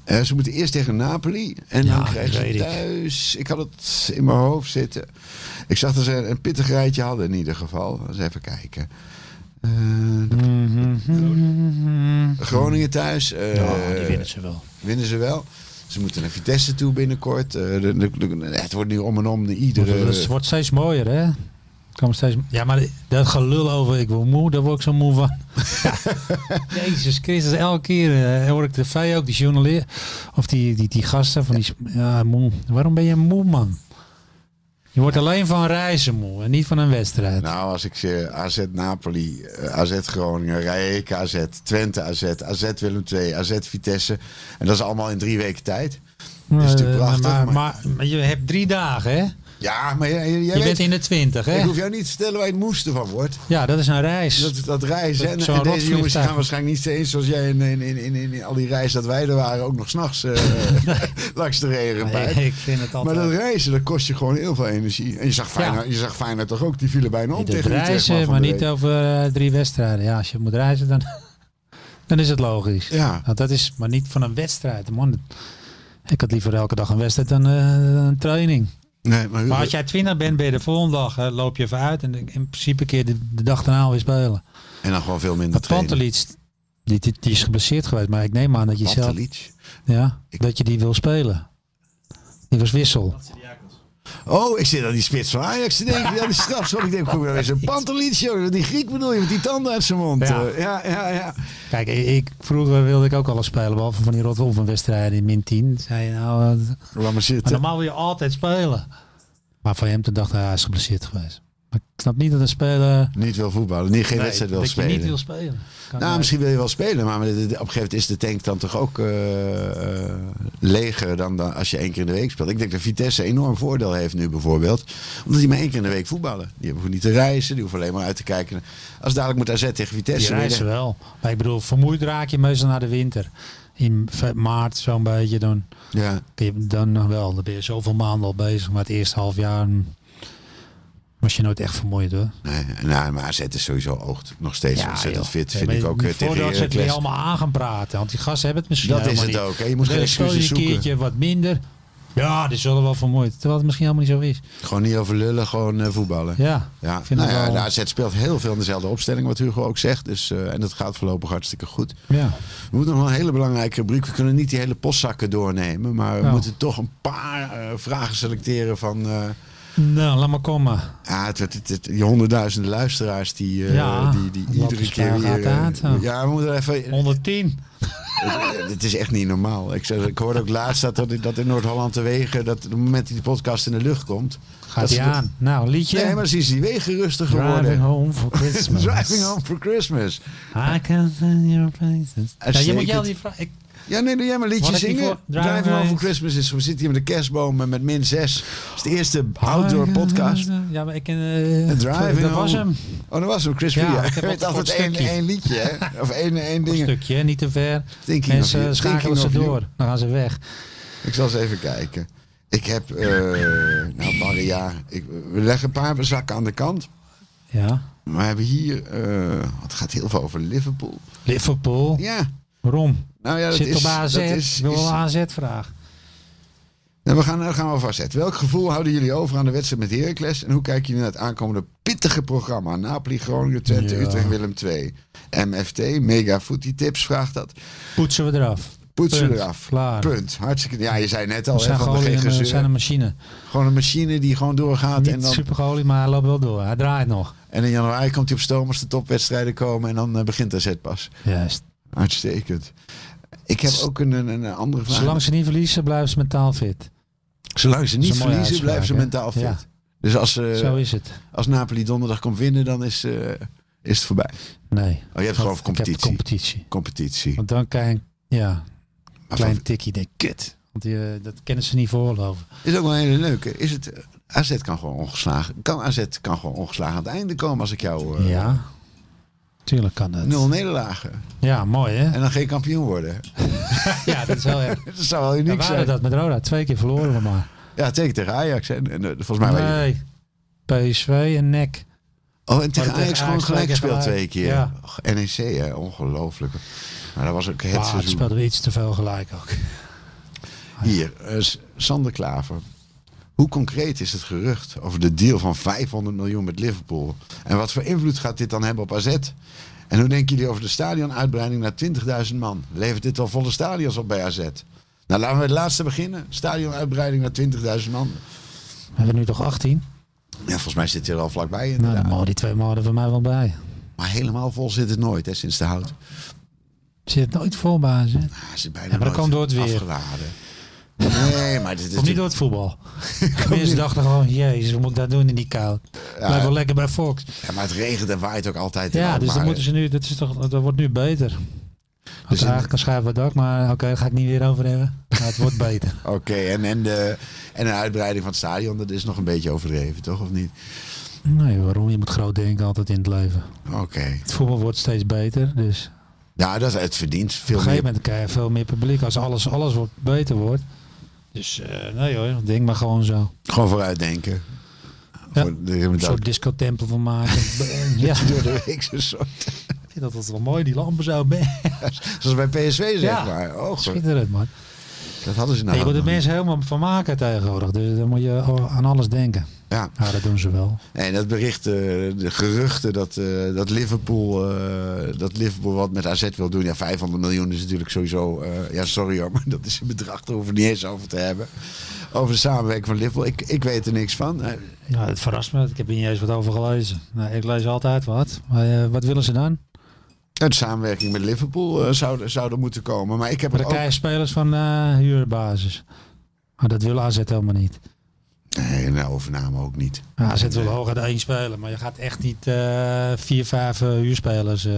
S3: Eh, ze moeten eerst tegen Napoli. En
S4: Ja,
S3: dan krijgen
S4: dat
S3: ze
S4: weet ik.
S3: thuis. Ik. had het in mijn hoofd zitten. Ik zag dat ze een pittig rijtje hadden in ieder geval. Eens even kijken. Eh, Groningen thuis. eh,
S4: ze wel.
S3: winnen ze wel. Ze moeten naar Vitesse toe binnenkort. Eh, de- de- de- het wordt nu om en om de iedere...
S4: Het wordt steeds mooier, hè? Het Komt steeds... Ja, maar dat gelul over ik wil moe, daar word ik zo moe van. Ja. Jezus Christus, elke keer eh, hoor ik de vij ook, die journalist, of die, die, die gasten van die... sp- Ja, moe. Waarom ben je moe, man? Je wordt alleen van reizen moe en niet van een wedstrijd.
S3: Nou, als ik ze AZ Napoli, eh, AZ Groningen, Rijeka AZ, Twente AZ, AZ Willem II, AZ Vitesse. En dat is allemaal in drie weken tijd. Dat is natuurlijk
S4: Eh,
S3: prachtig.
S4: maar,
S3: maar-
S4: maar, maar je hebt drie dagen, hè?
S3: ja, maar jij, jij
S4: je
S3: weet,
S4: bent in de twintig, hè?
S3: ik hoef jou niet te vertellen waar je het moest van wordt.
S4: Ja, dat is een reis.
S3: Dat, dat reizen. En,
S4: Zo'n
S3: en deze
S4: rotvliegtuig.
S3: jongens die gaan waarschijnlijk niet eens zoals jij in, in, in, in, in al die reis dat wij er waren, ook nog s'nachts eh langs de regenpijp.
S4: Nee, ik vind het
S3: Maar
S4: altijd...
S3: dat reizen, dat kost je gewoon heel veel energie. En je zag Feyenoord, je zag Feyenoord toch ook, die vielen bijna om
S4: Het
S3: tegen Utrecht,
S4: reizen,
S3: van
S4: maar
S3: de
S4: niet
S3: week.
S4: over eh, drie wedstrijden. Ja, als je moet reizen, dan, dan is het logisch.
S3: Ja.
S4: Nou, dat is, maar niet van een wedstrijd, man. Ik had liever elke dag een wedstrijd dan eh, een training.
S3: Nee, maar,
S4: Maar als jij twintig bent, ben je de volgende dag, hè, loop je even uit. En in principe keer de, de dag daarna weer spelen.
S3: En dan gewoon veel minder
S4: Want
S3: trainen.
S4: Pantelic, die, die, die is geblesseerd geweest. Maar ik neem aan dat je zelf,
S3: Pantelic.
S4: ja, dat je die wil spelen. Die was wissel.
S3: Oh, ik zit aan die spits van Ajax te denken. Ja, die strafschop. Ik denk, kom weer eens een Pantelic, joh. Die Griek bedoel je, met die tanden uit zijn mond.
S4: Ja.
S3: Eh, ja, ja, ja.
S4: Kijk, ik, ik- vroeger wilde ik ook alles spelen, behalve van die Rotterdam-wedstrijden in min 10. Zei je nou, eh,
S3: Laat maar
S4: maar
S3: zitten.
S4: normaal wil je altijd spelen. Maar van hem toen dacht ik, hij is geblesseerd geweest. Maar ik snap niet dat een speler
S3: Niet wil voetballen, niet geen
S4: Nee,
S3: wedstrijd wil
S4: dat
S3: spelen.
S4: je niet wil spelen. Kan,
S3: Nou,
S4: eh,
S3: misschien wil je wel spelen, maar met- op een gegeven moment is de tank dan toch ook eh, eh, leger dan, dan als je één keer in de week speelt. Ik denk dat Vitesse een enorm voordeel heeft nu bijvoorbeeld, omdat die maar één keer in de week voetballen. Die hebben hoeven niet te reizen, die hoeven alleen maar uit te kijken. Als dadelijk moet AZ tegen
S4: die
S3: Vitesse
S4: reizen
S3: winnen.
S4: wel. Maar ik bedoel, vermoeid raak je meestal naar de winter. In fe- maart zo'n beetje, dan,
S3: Ja,
S4: kun je- dan nog wel. Dan ben je zoveel maanden al bezig. Maar het eerste half jaar mm, was je nooit echt vermoeid hoor.
S3: nee, nou, maar AZ is sowieso oogt nog steeds ontzettend
S4: joh.
S3: fit,
S4: Ja,
S3: vind
S4: maar
S3: ik ook eh, tegen
S4: Voordat ze het weer
S3: Heracles.
S4: allemaal aan gaan praten. Want die gasten hebben het misschien
S3: Dat is
S4: helemaal
S3: het
S4: niet.
S3: ook, hè. Je moet
S4: Dus
S3: geen
S4: dan speel je
S3: excuses
S4: een
S3: zoeken.
S4: keertje wat minder. Ja, die zullen wel vermoeid. Terwijl het misschien helemaal niet zo is.
S3: Gewoon niet over lullen, gewoon eh, voetballen.
S4: Ja,
S3: Ja,
S4: ik vind
S3: nou
S4: het
S3: ja,
S4: wel...
S3: de AZ speelt heel veel in dezelfde opstelling, wat Hugo ook zegt. Dus, eh, en dat gaat voorlopig hartstikke goed.
S4: ja.
S3: We moeten nog wel een hele belangrijke rubriek. We kunnen niet die hele postzakken doornemen. Maar we
S4: Oh.
S3: moeten toch een paar eh, vragen selecteren van eh,
S4: Nou, laat maar komen.
S3: ah, het, het, het- het- die honderdduizenden luisteraars die, eh,
S4: Ja,
S3: die, die
S4: het loopt
S3: iedere
S4: dus
S3: keer
S4: wel
S3: weer...
S4: gaat
S3: eh,
S4: uit, hè.
S3: ja, we moeten er even...
S4: 110.
S3: Het, het is echt niet normaal. Ik, zeg, ik hoorde ook laatst dat, er- dat in Noord-Holland de wegen... dat op het moment dat die podcast in de lucht komt...
S4: Gaat
S3: dat
S4: hij
S3: ze-
S4: aan. Nou, liedje.
S3: Nee, maar ze is die wegen rustig
S4: Driving
S3: geworden.
S4: home for Christmas.
S3: Driving home for Christmas.
S4: I can find your places. Ja, je moet
S3: Uitstekend.
S4: jou die vraag... ik-
S3: Ja, nee, doe jij maar een liedje
S4: Wat heb je
S3: zingen.
S4: voor-
S3: Driving,
S4: Driving
S3: Home for
S4: Home.
S3: Christmas is. We zitten hier met de kerstboom en met min 6. Dat is de eerste outdoor podcast.
S4: Ja, maar ik ken... eh,
S3: Driving
S4: Dat was
S3: Home.
S4: hem.
S3: Oh, dat was hem, Chris
S4: Ja,
S3: Ria.
S4: ik heb
S3: Je weet
S4: altijd
S3: altijd
S4: een
S3: één,
S4: stukje.
S3: één liedje, hè? Of één, één
S4: Een
S3: ding.
S4: stukje, hè, niet te ver.
S3: Thinking of you.
S4: Mensen schakelen ze
S3: Thinking of you.
S4: door. Dan gaan ze weg.
S3: Ik zal eens even kijken. Ik heb, eh nou, een paar jaar. Ik, we leggen een paar zakken aan de kant.
S4: Ja.
S3: Maar we hebben hier, eh het gaat heel veel over Liverpool.
S4: Liverpool.
S3: Ja,
S4: Waarom?
S3: nou ja, dat
S4: Zit
S3: is...
S4: op AZ.
S3: dat is,
S4: wil
S3: is-
S4: wel AZ-vraag.
S3: Nou, we gaan, dan gaan we vastzetten. Welk gevoel houden jullie over aan de wedstrijd met Heracles? En hoe kijken jullie naar het aankomende pittige programma? Napoli, Groningen, Twente,
S4: Ja.
S3: Utrecht, Willem II. MFT, Mega Footy Tips vraagt dat.
S4: Poetsen we eraf.
S3: Poetsen
S4: Punt.
S3: eraf.
S4: Klaar.
S3: Punt. Hartstikke. Ja, je zei net al,
S4: We
S3: hè,
S4: zijn
S3: van de
S4: gewoon
S3: geen
S4: een, we
S3: gezeur.
S4: zijn een machine.
S3: Gewoon een machine die gewoon doorgaat. En,
S4: Niet
S3: dan,
S4: supergolie, maar hij loopt wel door. Hij draait nog.
S3: en in januari komt hij op stoom als de topwedstrijden komen. En dan eh, begint de zet pas.
S4: Juist.
S3: Uitstekend. Ik heb ook een, een, een andere vraag.
S4: Zolang ze niet verliezen, blijven ze mentaal fit.
S3: Zolang ze niet
S4: Dat is een mooie
S3: verliezen, blijven ze
S4: uitspraak, hè?
S3: mentaal fit.
S4: Ja.
S3: Dus als, eh,
S4: Zo is het.
S3: als Napoli donderdag komt winnen, dan is, eh, is het voorbij.
S4: Nee.
S3: Oh, je hebt gewoon
S4: Want
S3: competitie.
S4: Ik heb competitie.
S3: competitie.
S4: Want dan kan je ja, een
S3: Maar
S4: klein
S3: van-
S4: tikkie. Denk, kut. Want die, eh, dat kennen ze niet voorloven.
S3: Is ook wel een hele leuke. Is het, eh, AZ kan gewoon ongeslagen. Kan AZ kan gewoon ongeslagen aan het einde komen als ik jou... eh,
S4: Ja. Tuurlijk kan dat.
S3: Nul nederlagen.
S4: Ja, mooi hè?
S3: En dan geen kampioen worden.
S4: Ja, dat is wel erg.
S3: Dat zou wel
S4: We
S3: uniek
S4: waren
S3: zijn.
S4: dat met Roda. Twee keer verloren we maar.
S3: Ja, tegen, tegen Ajax. hè. En, en, eh, volgens mij... waren
S4: Nee. PSV en E NEC.
S3: Oh, en tegen
S4: tegen
S3: Ajax gewoon
S4: Ajax twee
S3: gelijk
S4: keer
S3: gespeeld
S4: gelijk.
S3: twee keer.
S4: Ja.
S3: Och, NEC, hè. Ongelooflijk. Maar dat was ook het
S4: Ah, het
S3: seizoen.
S4: speelden we iets te veel gelijk ook.
S3: Hier, eh, S- Sander Klaver. Hoe concreet is het gerucht over de deal van 500 miljoen met Liverpool? En wat voor invloed gaat dit dan hebben op AZ? En hoe denken jullie over de stadionuitbreiding naar 20.000 man? Levert dit wel volle stadions op bij AZ? Nou, laten we met het laatste beginnen. Stadionuitbreiding naar 20.000 man.
S4: We hebben nu toch 18?
S3: Ja, volgens mij zit hij er al vlakbij
S4: Nou,
S3: inderdaad.
S4: dan mogen die twee maanden voor mij wel bij.
S3: maar helemaal vol zit het nooit, hè, sinds de hout.
S4: Zit nooit vol bij ze.
S3: Ah, hij zit bijna
S4: Ja, maar dat
S3: nooit
S4: kwam door het weer.
S3: Afgeladen. Nee, maar dit is
S4: Komt niet door het voetbal. Mensen dachten gewoon, jezus, wat moet ik dat doen in die kou? Blijf wel lekker bij Fox.
S3: Ja, maar het regent en waait ook altijd. en
S4: Ja,
S3: al,
S4: dus dan
S3: maar-
S4: moeten ze nu, dat, is toch, dat wordt nu beter.
S3: Dus
S4: Als
S3: in-
S4: het eigenlijk een schuif wat dak, maar oké, daar ga ik niet weer over hebben. Maar het wordt beter.
S3: Oké, en, en, de, en de uitbreiding van het stadion, dat is nog een beetje overdreven, toch? Of niet?
S4: Nee, waarom? Je moet groot denken altijd in het leven.
S3: Oké.
S4: Het voetbal wordt steeds beter, dus
S3: Ja, dat, het verdient
S4: op
S3: veel
S4: een gegeven
S3: meer.
S4: moment krijg je veel meer publiek als alles, alles wordt beter wordt. Dus eh, nee hoor, denk maar gewoon zo.
S3: Gewoon vooruitdenken.
S4: Ja.
S3: Voor de,
S4: Een soort discotempel van maken. ja, ik
S3: door de week zo'n soort.
S4: vind dat altijd wel mooi, die lampen zo. Man.
S3: Zoals bij PSV, zeg
S4: Ja.
S3: maar. Oh, goed.
S4: Schitterend man.
S3: dat hadden ze
S4: En
S3: nou.
S4: je moet de
S3: nog
S4: mensen helemaal van maken tegenwoordig, dus dan moet je aan alles denken.
S3: niet. Ja.
S4: Ja, dat doen ze wel.
S3: En dat bericht, eh, de geruchten dat, eh, dat, Liverpool, eh, dat Liverpool wat met AZ wil doen. Ja, 500 miljoen is natuurlijk sowieso... eh, ja, sorry hoor, maar dat is een bedrag. Daar hoeven we niet eens over te hebben. Over de samenwerking van Liverpool. Ik, ik weet er niks van. Eh,
S4: Ja, het verrast me. Ik heb hier niet eens wat over gelezen. Nou, ik lees altijd wat. Maar eh, wat willen ze dan?
S3: Een samenwerking met Liverpool eh, zou, zou er moeten komen. Maar ik heb
S4: Maar
S3: er
S4: dan
S3: ook...
S4: krijg je spelers van eh, huurbasis. Maar dat wil AZ helemaal niet.
S3: Nee, een overname ook niet.
S4: Nou, AZ wil hooguit één spelen, maar je gaat echt niet eh, vier, vijf eh, huurspelers. eh.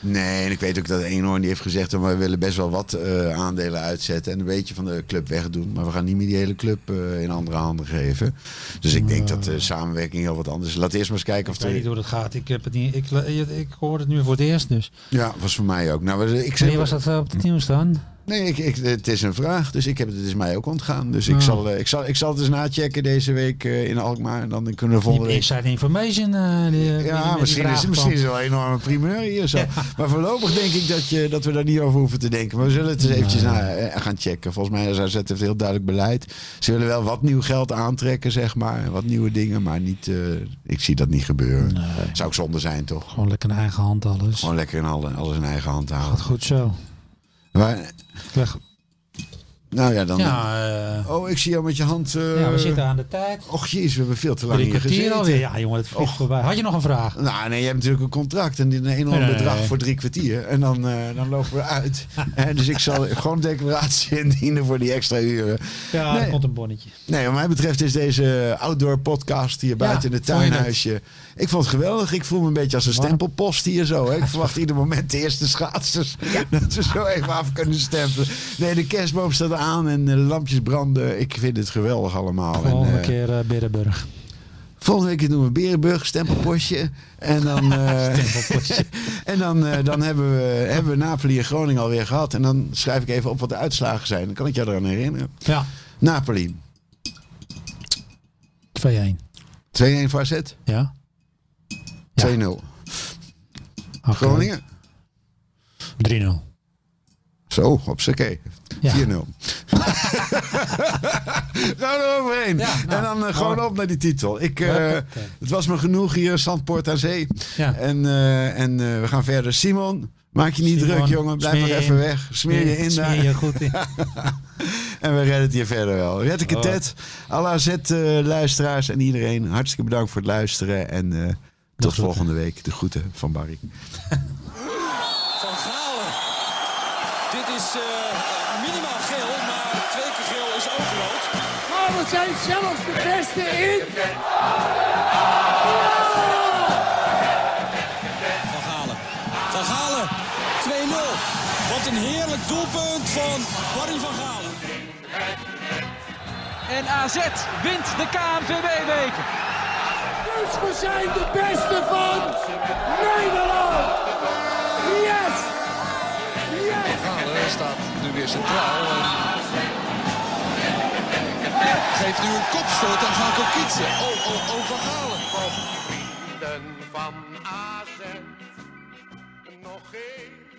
S3: Nee, en ik weet ook dat Eenhoorn die heeft gezegd... we willen best wel wat eh, aandelen uitzetten... en een beetje van de club wegdoen. Maar we gaan niet meer die hele club eh, in andere handen geven. Dus ik denk dat de samenwerking heel wat anders is. Laat eerst maar eens kijken of
S4: Ik weet niet
S3: er...
S4: hoe dat gaat. Ik, heb het niet, ik, le- ik hoor het nu voor het eerst dus.
S3: Ja, was voor mij ook. Nou, maar ik
S4: Wanneer
S3: zeg...
S4: was dat eh, op het nieuws dan?
S3: Nee, ik, ik, het is een vraag. Dus ik heb, het is mij ook ontgaan. Dus ik,
S4: Ja.
S3: zal, eh, ik, zal, ik zal het eens nachecken deze week eh, in Alkmaar. En dan kunnen we volgende week...
S4: Inside information. eh, die- die- die-
S3: Ja,
S4: die
S3: misschien
S4: vraag
S3: is,
S4: van-
S3: misschien is het wel een enorme primeur hier zo. Maar voorlopig denk ik dat, je, dat we daar niet over hoeven te denken. Maar we zullen het eens eventjes nou, eh, gaan checken. Volgens mij is AZ heeft heel duidelijk beleid. Ze willen wel wat nieuw geld aantrekken, zeg maar. Wat nieuwe dingen, maar niet, eh, ik zie dat niet gebeuren. Zou ook zonde zijn, toch?
S4: Gewoon lekker in eigen hand alles.
S3: Gewoon lekker in alle- alles in eigen hand houden.
S4: Goed zo.
S3: Maar,
S4: Leg.
S3: nou ja, dan...
S4: Ja, eh,
S3: Oh, ik zie jou met je hand... eh,
S4: ja, we zitten aan de tijd.
S3: Och jeez, we hebben veel te lang
S4: Drie
S3: hier
S4: kwartier
S3: gezeten.
S4: alweer. Ja, jongen, het vliegt voorbij. Had je nog een vraag?
S3: Nou, nee, je hebt natuurlijk een contract en een enorm
S4: Nee, nee,
S3: bedrag
S4: nee.
S3: voor drie kwartier. En dan, eh, dan lopen we uit. Eh, dus ik zal gewoon een declaratie indienen voor die extra uren.
S4: Ja,
S3: Nee.
S4: er komt een bonnetje.
S3: Nee, wat mij betreft is deze outdoor podcast hier buiten in het
S4: vond je dat?
S3: tuinhuisje. Ik vond het geweldig. Ik voel me een beetje als een stempelpost hier zo. Hè. Ik verwacht ieder moment de eerste schaatsers. Dat we zo even af kunnen stempelen. Nee, de kerstboom staat aan en de lampjes branden. Ik vind het geweldig allemaal. En,
S4: Volgende
S3: eh,
S4: keer eh, Berenburg.
S3: Volgende week doen we Berenburg, stempelpostje. En dan, eh, en dan, eh, dan hebben, we, hebben we Napoli en Groningen alweer gehad. En dan schrijf ik even op wat de uitslagen zijn. Dan kan ik jou eraan herinneren.
S4: Ja,
S3: Napoli,
S4: 2-1.
S3: 2-1 voor AZ, 2-0.
S4: Ja? Ja. Oké.
S3: Groningen,
S4: 3-0.
S3: zo, op z'n kee.
S4: Ja.
S3: 4-0. Gaan er overheen.
S4: Ja, nou,
S3: en dan eh, gewoon
S4: mooi.
S3: op naar die titel. Ik, eh,
S4: Hoppakee.
S3: het was me genoeg hier, Zandpoort aan Zee.
S4: Ja.
S3: En, eh, en eh, we gaan verder. Simon, maak je niet
S4: Simon,
S3: druk, jongen. Blijf
S4: smeer
S3: nog
S4: je
S3: even
S4: in.
S3: weg. Smeer je in daar.
S4: Smeer je goed in.
S3: En we redden het hier verder wel. Red
S4: Oh.
S3: ik het tet. Alle AZ-luisteraars en iedereen, hartstikke bedankt voor het luisteren. En eh, tot
S4: groeten.
S3: volgende week. De groeten van Barry.
S6: Van Galen. Dit is eh, minimaal geel, maar twee keer geel is ook rood.
S1: Maar Oh, we zijn zelfs de beste in.
S6: Van Galen. Van Galen. 2-0. Wat een heerlijk doelpunt van Barry van Galen.
S7: En AZ wint de KNVB-beker.
S1: Dus we zijn de beste van Nederland. Yes! Yes!
S2: Galen staat nu weer centraal. en Geeft nu een kopstoot aan Gako Kietse. Oh, oh, oh, Van Galen.
S8: vrienden van AZ nog even.